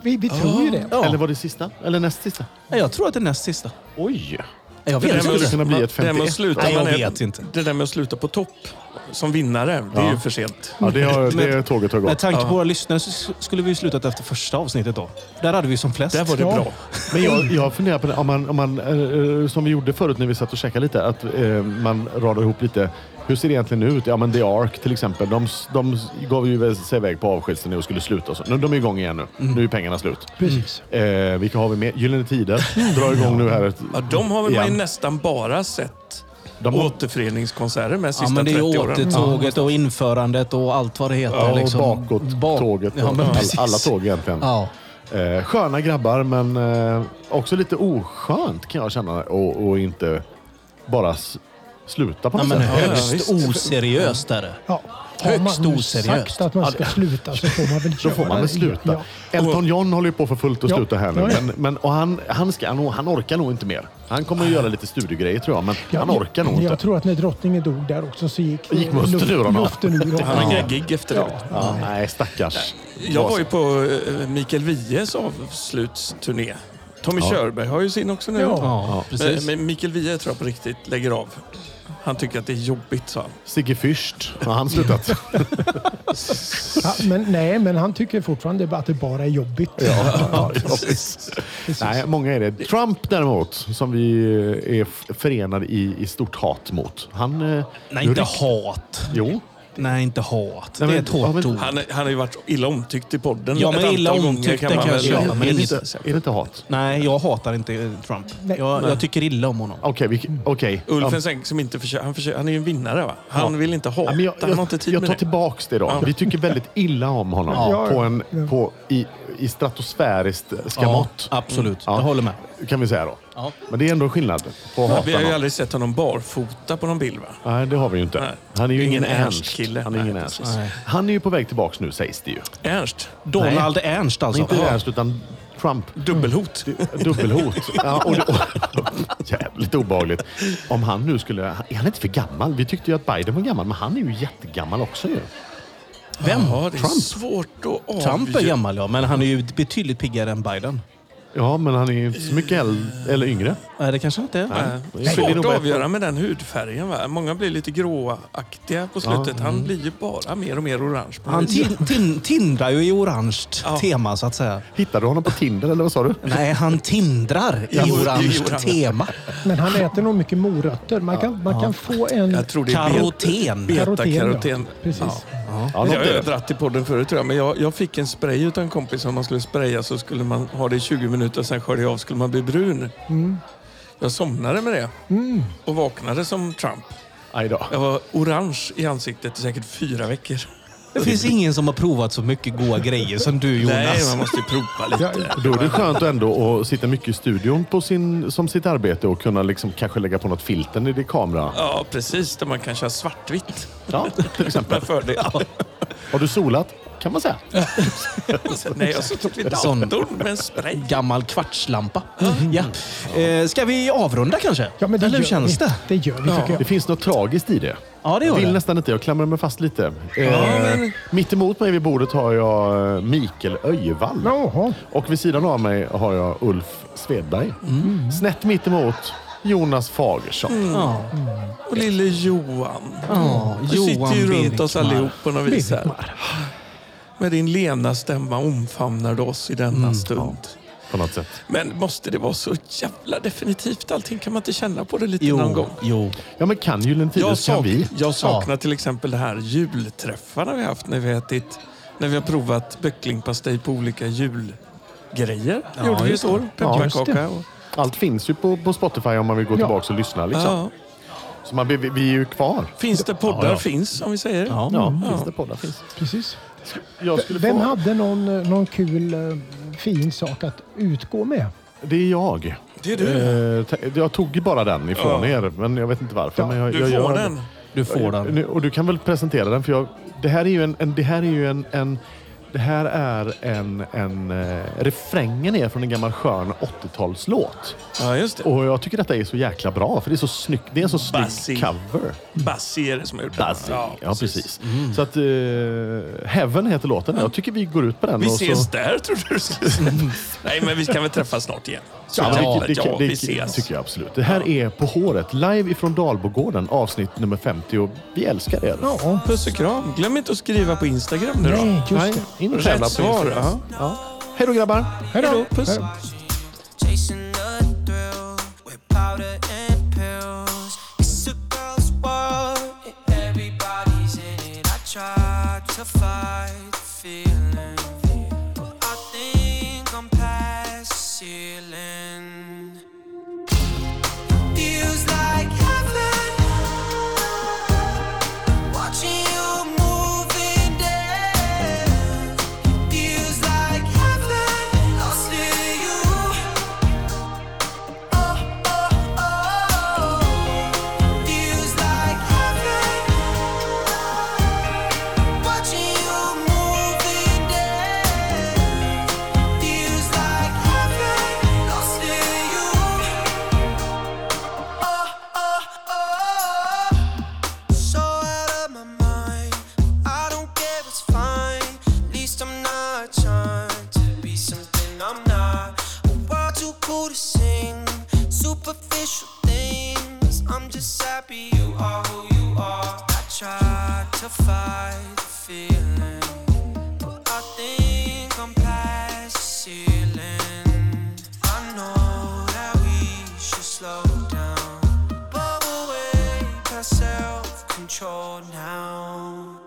Speaker 4: Vi, vi tror
Speaker 2: Ah.
Speaker 4: ju det.
Speaker 3: Ja.
Speaker 2: Eller var det sista? Eller näst sista?
Speaker 3: Nej, Jag tror att det är näst sista.
Speaker 2: Oj!
Speaker 3: Nej, Jag
Speaker 1: Det
Speaker 3: vet
Speaker 1: där med
Speaker 2: skulle
Speaker 1: att-
Speaker 3: inte.
Speaker 2: kunna bli ett
Speaker 1: det där med att
Speaker 2: 51.
Speaker 1: sluta-
Speaker 3: Nej, jag
Speaker 1: man är-
Speaker 3: vet inte.
Speaker 1: Det där med att sluta på topp som vinnare, det är ju för sent.
Speaker 2: Ja, det, har,
Speaker 3: Men-
Speaker 2: det tåget har
Speaker 3: Med
Speaker 2: gått.
Speaker 3: tanke på våra lyssnare så s- skulle vi ju slutat efter första avsnittet då. Där hade vi ju som flest.
Speaker 1: Där var det
Speaker 4: Ja.
Speaker 1: bra.
Speaker 2: Men jag, jag funderar på det, om man, om man eh, eh, som vi gjorde förut när vi satt och käkade lite, att eh, man radar ihop lite. Hur ser det egentligen ut? Ja, men The Ark till exempel. De, s- de s- gav ju väl sig iväg på avskilsturné och skulle sluta. och Så. Nu, de är igång igen nu.
Speaker 1: Mm.
Speaker 2: Nu är pengarna slut.
Speaker 4: Precis.
Speaker 2: Eh, vilka har vi mer? Gyllene Tider drar igång nu här. ett-
Speaker 1: Mm. Ja, de har väl man ju
Speaker 2: igen.
Speaker 1: nästan bara sett
Speaker 2: De har-
Speaker 1: återföreningskonserter med sista
Speaker 3: Ja, men det är
Speaker 1: 30
Speaker 3: ju
Speaker 1: åren.
Speaker 3: återtåget och införandet och allt vad det heter.
Speaker 2: Ja, och
Speaker 3: liksom.
Speaker 2: bakåt
Speaker 3: Bak-
Speaker 2: tåget.
Speaker 3: Ja, men
Speaker 2: All-
Speaker 3: precis.
Speaker 2: alla tåg egentligen.
Speaker 3: Ja.
Speaker 2: Eh, sköna grabbar, men eh, också lite oskönt kan jag känna. Och, och inte bara s- sluta på
Speaker 3: Ja,
Speaker 2: något
Speaker 3: men
Speaker 2: sätt.
Speaker 3: högst
Speaker 1: Ja, visst.
Speaker 3: oseriöst är det.
Speaker 4: Ja. Har
Speaker 3: Högst
Speaker 4: man nu
Speaker 3: oseriöst.
Speaker 4: sagt att man ska sluta så får man väl
Speaker 2: Då får man väl sluta.
Speaker 4: Ja.
Speaker 2: Elton John håller ju på för fullt att
Speaker 4: Ja.
Speaker 2: sluta här nu.
Speaker 4: Ja, ja.
Speaker 2: Men, men, och han, han, ska, han, han orkar nog inte mer. Han kommer att göra lite studiegrejer tror jag, men
Speaker 4: Ja,
Speaker 2: han orkar nog
Speaker 4: jag,
Speaker 2: inte.
Speaker 4: jag tror att när drottningen dog där också så gick,
Speaker 2: Gick musten
Speaker 4: luft-
Speaker 2: ur honom.
Speaker 4: luften ur honom.
Speaker 1: Han har inga gig efter det.
Speaker 2: ja, nej, stackars.
Speaker 1: Jag var ju på eh, Mikael Wiehes avslutsturné. Tommy Körberg har ju sin också nu.
Speaker 4: Ja.
Speaker 3: Ja,
Speaker 1: Men,
Speaker 3: precis.
Speaker 1: men Mikael Wiehe tror jag på riktigt lägger av. Han tycker att det är jobbigt, sa han.
Speaker 2: Sigge Fürst, har han slutat?
Speaker 4: Ja, men, nej, men han tycker fortfarande att det bara är jobbigt.
Speaker 2: Ja, precis. Nej, många är det. Trump däremot, som vi eh, är f- förenade i, i stort hat mot. Han... eh,
Speaker 3: Nej,
Speaker 2: nu
Speaker 3: inte
Speaker 2: rykt-
Speaker 3: hat.
Speaker 2: Jo.
Speaker 3: Nej, inte hat.
Speaker 2: Nej,
Speaker 3: det är
Speaker 2: men-
Speaker 3: ett hårt
Speaker 2: ja, men-
Speaker 3: ord.
Speaker 1: Han, är- han har ju varit illa omtyckt i podden
Speaker 3: Ja, men
Speaker 1: ett
Speaker 3: illa
Speaker 1: antal gånger.
Speaker 3: omtyckt,
Speaker 1: Kan
Speaker 3: det
Speaker 1: man
Speaker 3: kanske
Speaker 1: väl,
Speaker 3: jag, men
Speaker 2: är, det
Speaker 3: inget-
Speaker 2: inte, är det inte hat?
Speaker 3: Nej, jag hatar inte eh, Trump.
Speaker 4: Nej.
Speaker 3: Jag, jag tycker illa om honom.
Speaker 2: Okej, okay, okej.
Speaker 1: Ulf en säng som inte försöker, han, försöker, han är ju en vinnare va? Han vill inte hata,
Speaker 2: Ja, men jag,
Speaker 1: han har inte tid
Speaker 2: jag
Speaker 1: med
Speaker 2: tar
Speaker 1: det.
Speaker 2: tillbaks det då.
Speaker 1: Ja.
Speaker 2: Vi tycker väldigt illa om honom
Speaker 4: Ja.
Speaker 2: på en, på, i, i stratosfäriskt ska
Speaker 3: Ja,
Speaker 2: mått.
Speaker 3: absolut.
Speaker 2: Ja.
Speaker 3: Jag håller med.
Speaker 2: Kan vi säga då.
Speaker 3: Ja.
Speaker 2: Men det är ändå skillnad på att hata
Speaker 1: Vi har ju
Speaker 2: någon.
Speaker 1: aldrig sett honom barfota på någon bild va?
Speaker 2: Nej, det har vi ju inte.
Speaker 1: Nej.
Speaker 2: Han är ju
Speaker 1: Ingen
Speaker 2: ingen,
Speaker 1: Ernst-kille.
Speaker 2: Ernst. Han är, ingen
Speaker 1: Nej,
Speaker 2: Ernst.
Speaker 1: precis.
Speaker 2: han är ju på väg tillbaks nu sägs det ju.
Speaker 1: Ernst,
Speaker 3: Donald Ernst alltså.
Speaker 2: Nej, inte Ernst utan Trump.
Speaker 1: dubbelhot.
Speaker 2: Dubbelhot. Ja, och det, och, jävligt obehagligt. Om han nu skulle... Är han inte för gammal? Vi tyckte ju att Biden var gammal, men han är ju jättegammal också ju.
Speaker 1: Vem? Ja, det är
Speaker 2: Trump.
Speaker 1: svårt att avgöra.
Speaker 3: Trump är gammal ja, men han är ju betydligt piggare än Biden.
Speaker 2: Ja, men han är ju inte så mycket äldre, eller yngre.
Speaker 3: Nej, det kanske inte är.
Speaker 1: Nej.
Speaker 2: Det är
Speaker 1: Svårt
Speaker 2: nog
Speaker 1: att
Speaker 2: bättre.
Speaker 1: avgöra med den hudfärgen. Va? Många blir lite gråaktiga på slutet.
Speaker 2: Mm.
Speaker 1: Han blir ju bara mer och mer orange. På
Speaker 3: Han
Speaker 1: något vis.
Speaker 3: tin, tin, tindrar ju i orange
Speaker 1: Ja.
Speaker 3: tema så att säga.
Speaker 2: Hittade du honom på Tinder eller vad sa du?
Speaker 3: Nej, han tindrar i
Speaker 1: Ja, i
Speaker 3: orange
Speaker 1: orange.
Speaker 3: tema.
Speaker 4: Men han äter nog mycket morötter. Man kan, man kan få en...
Speaker 1: jag tror det är
Speaker 3: Karoten.
Speaker 1: bet-
Speaker 4: Karoten, ja.
Speaker 1: Betakaroten.
Speaker 4: Precis.
Speaker 2: Ja,
Speaker 1: Det
Speaker 2: något
Speaker 1: har
Speaker 2: är
Speaker 1: jag
Speaker 2: det.
Speaker 1: dratt i podden förut tror jag, men jag, jag fick en spray utan en Mm. kompis. Om man skulle spraya så skulle man ha det i 20 minuter, sen skölja av skulle man bli brun. Jag somnade med det och vaknade som Trump.
Speaker 2: Aj då.
Speaker 1: Jag var orange i ansiktet i säkert fyra veckor.
Speaker 3: Det finns ingen som har provat så mycket goda grejer som du Jonas.
Speaker 1: Nej, man måste ju prova lite.
Speaker 2: Då är det skönt ändå att sitta mycket i studion på sin, som sitt arbete och kunna liksom kanske lägga på något filter i din kamera.
Speaker 1: Ja, precis. Där man kan köra svartvitt.
Speaker 2: Ja, till exempel.
Speaker 1: Med fördel.
Speaker 2: Har du solat? Kan man säga.
Speaker 1: Nej, jag sitter vid
Speaker 3: Sån.
Speaker 1: datorn med en spray.
Speaker 3: Gammal kvartslampa. Ja. Eh, ska vi avrunda kanske?
Speaker 4: Ja, men det
Speaker 3: Eller hur
Speaker 4: gör
Speaker 3: känns
Speaker 4: vi.
Speaker 3: det?
Speaker 4: Det gör vi tycker
Speaker 2: Det
Speaker 4: jag.
Speaker 2: finns något tragiskt i det.
Speaker 3: Ja, det
Speaker 2: Jag
Speaker 3: gör
Speaker 2: vill
Speaker 3: det.
Speaker 2: nästan inte. Jag klamrar mig fast lite. Eh, mitt emot mig vid bordet har jag eh, Mikael Öjevall.
Speaker 4: Jaha.
Speaker 2: Och vid sidan av mig har jag Ulf Svedberg.
Speaker 1: Mm.
Speaker 2: Snett mitt emot Jonas Fagersson.
Speaker 3: Ja.
Speaker 1: Och lille Johan.
Speaker 3: Ja,
Speaker 1: Du sitter ju runt oss
Speaker 3: Birkmar.
Speaker 1: allihop på något vis här. Med din lena stämma omfamnar du oss i denna
Speaker 2: Mm,
Speaker 1: stund.
Speaker 2: På något sätt.
Speaker 1: Men måste det vara så jävla definitivt allting? Kan man inte känna på det lite någon
Speaker 3: Jo,
Speaker 1: gång?
Speaker 3: jo.
Speaker 2: Ja, men kan
Speaker 1: Jag,
Speaker 2: Gyllentides kan
Speaker 1: sak-
Speaker 2: vi.
Speaker 1: jag saknar till exempel de här julträffarna vi haft när vi ätit, när vi har provat böcklingpastej på olika julgrejer. Gjorde vi i
Speaker 3: just
Speaker 1: år. Pepparkaka och...
Speaker 2: Allt finns ju på, på Spotify om man vill gå tillbaka och lyssna. Liksom.
Speaker 1: Ja.
Speaker 2: Så man, vi, vi vi är ju kvar.
Speaker 1: Finns det poddar?
Speaker 2: Ja, ja.
Speaker 1: Finns, om vi säger.
Speaker 3: Ja.
Speaker 2: Ja, finns det poddar finns.
Speaker 4: Precis.
Speaker 2: Jag skulle
Speaker 4: Vem
Speaker 2: få...
Speaker 4: hade någon, eh, någon kul eh, fin sak att utgå med?
Speaker 2: Det är jag.
Speaker 1: Det är du.
Speaker 2: Eh, te- jag tog bara den ifrån
Speaker 1: Ja.
Speaker 2: er, men jag vet inte varför.
Speaker 4: Ja,
Speaker 2: men jag,
Speaker 1: Du
Speaker 2: jag
Speaker 1: får
Speaker 2: gör
Speaker 1: den.
Speaker 3: Du får den.
Speaker 2: Nu- Och du kan väl presentera den? För jag, det här är ju en... en, det, här är ju en, en det här är en... en eh, refrängen är från en gammal skön 80-talslåt.
Speaker 1: Ja, just det.
Speaker 2: Och jag tycker detta är så jäkla bra, för det är så snyggt. Det är en så snygg
Speaker 1: Bassi.
Speaker 2: cover.
Speaker 1: Bassi är det som har gjort den.
Speaker 2: Bassi. Ja, precis. Så att... eh, Heaven heter låten. Jag tycker vi går ut på den.
Speaker 1: Vi
Speaker 2: och
Speaker 1: ses
Speaker 2: så...
Speaker 1: där, tror du du skulle säga. Nej, men vi kan väl träffas snart igen. Så
Speaker 2: Ja,
Speaker 1: jävla,
Speaker 2: det,
Speaker 1: ja,
Speaker 2: det, det,
Speaker 1: vi
Speaker 2: det
Speaker 1: ses.
Speaker 2: tycker jag absolut. Det här är På håret, live ifrån Dalbogården, avsnitt nummer 50. Och vi älskar er.
Speaker 4: Ja,
Speaker 1: Puss och kram. Glöm inte att skriva på Instagram nu då.
Speaker 4: nej, just
Speaker 2: Nej,
Speaker 4: det.
Speaker 2: in och tävla
Speaker 1: Rätt
Speaker 2: på
Speaker 1: svar.
Speaker 2: Instagram.
Speaker 1: Ja.
Speaker 2: Ja. Hej då grabbar!
Speaker 4: Hej
Speaker 1: Hej
Speaker 4: då!
Speaker 1: då, puss.
Speaker 4: Hej då.
Speaker 6: chasing the thrill with powder and pills. It's a girl's world, and everybody's in it. I tried to fight the feeling, but I think I'm past ceiling. Feels like heaven. Watching you move in dance. Feels like heaven. Lost in you. Feels like heaven, watching you moving there. Feels like heaven, lost in you. Oh oh oh. So out of my mind. I don't care, it's fine. At least I'm not trying to be something I'm not. A world too cool to sing. Superficial things. I'm just happy you are who you are. I tried to fight the feeling, but I think I'm past the ceiling. I know that we should slow down. But we're way past self control now.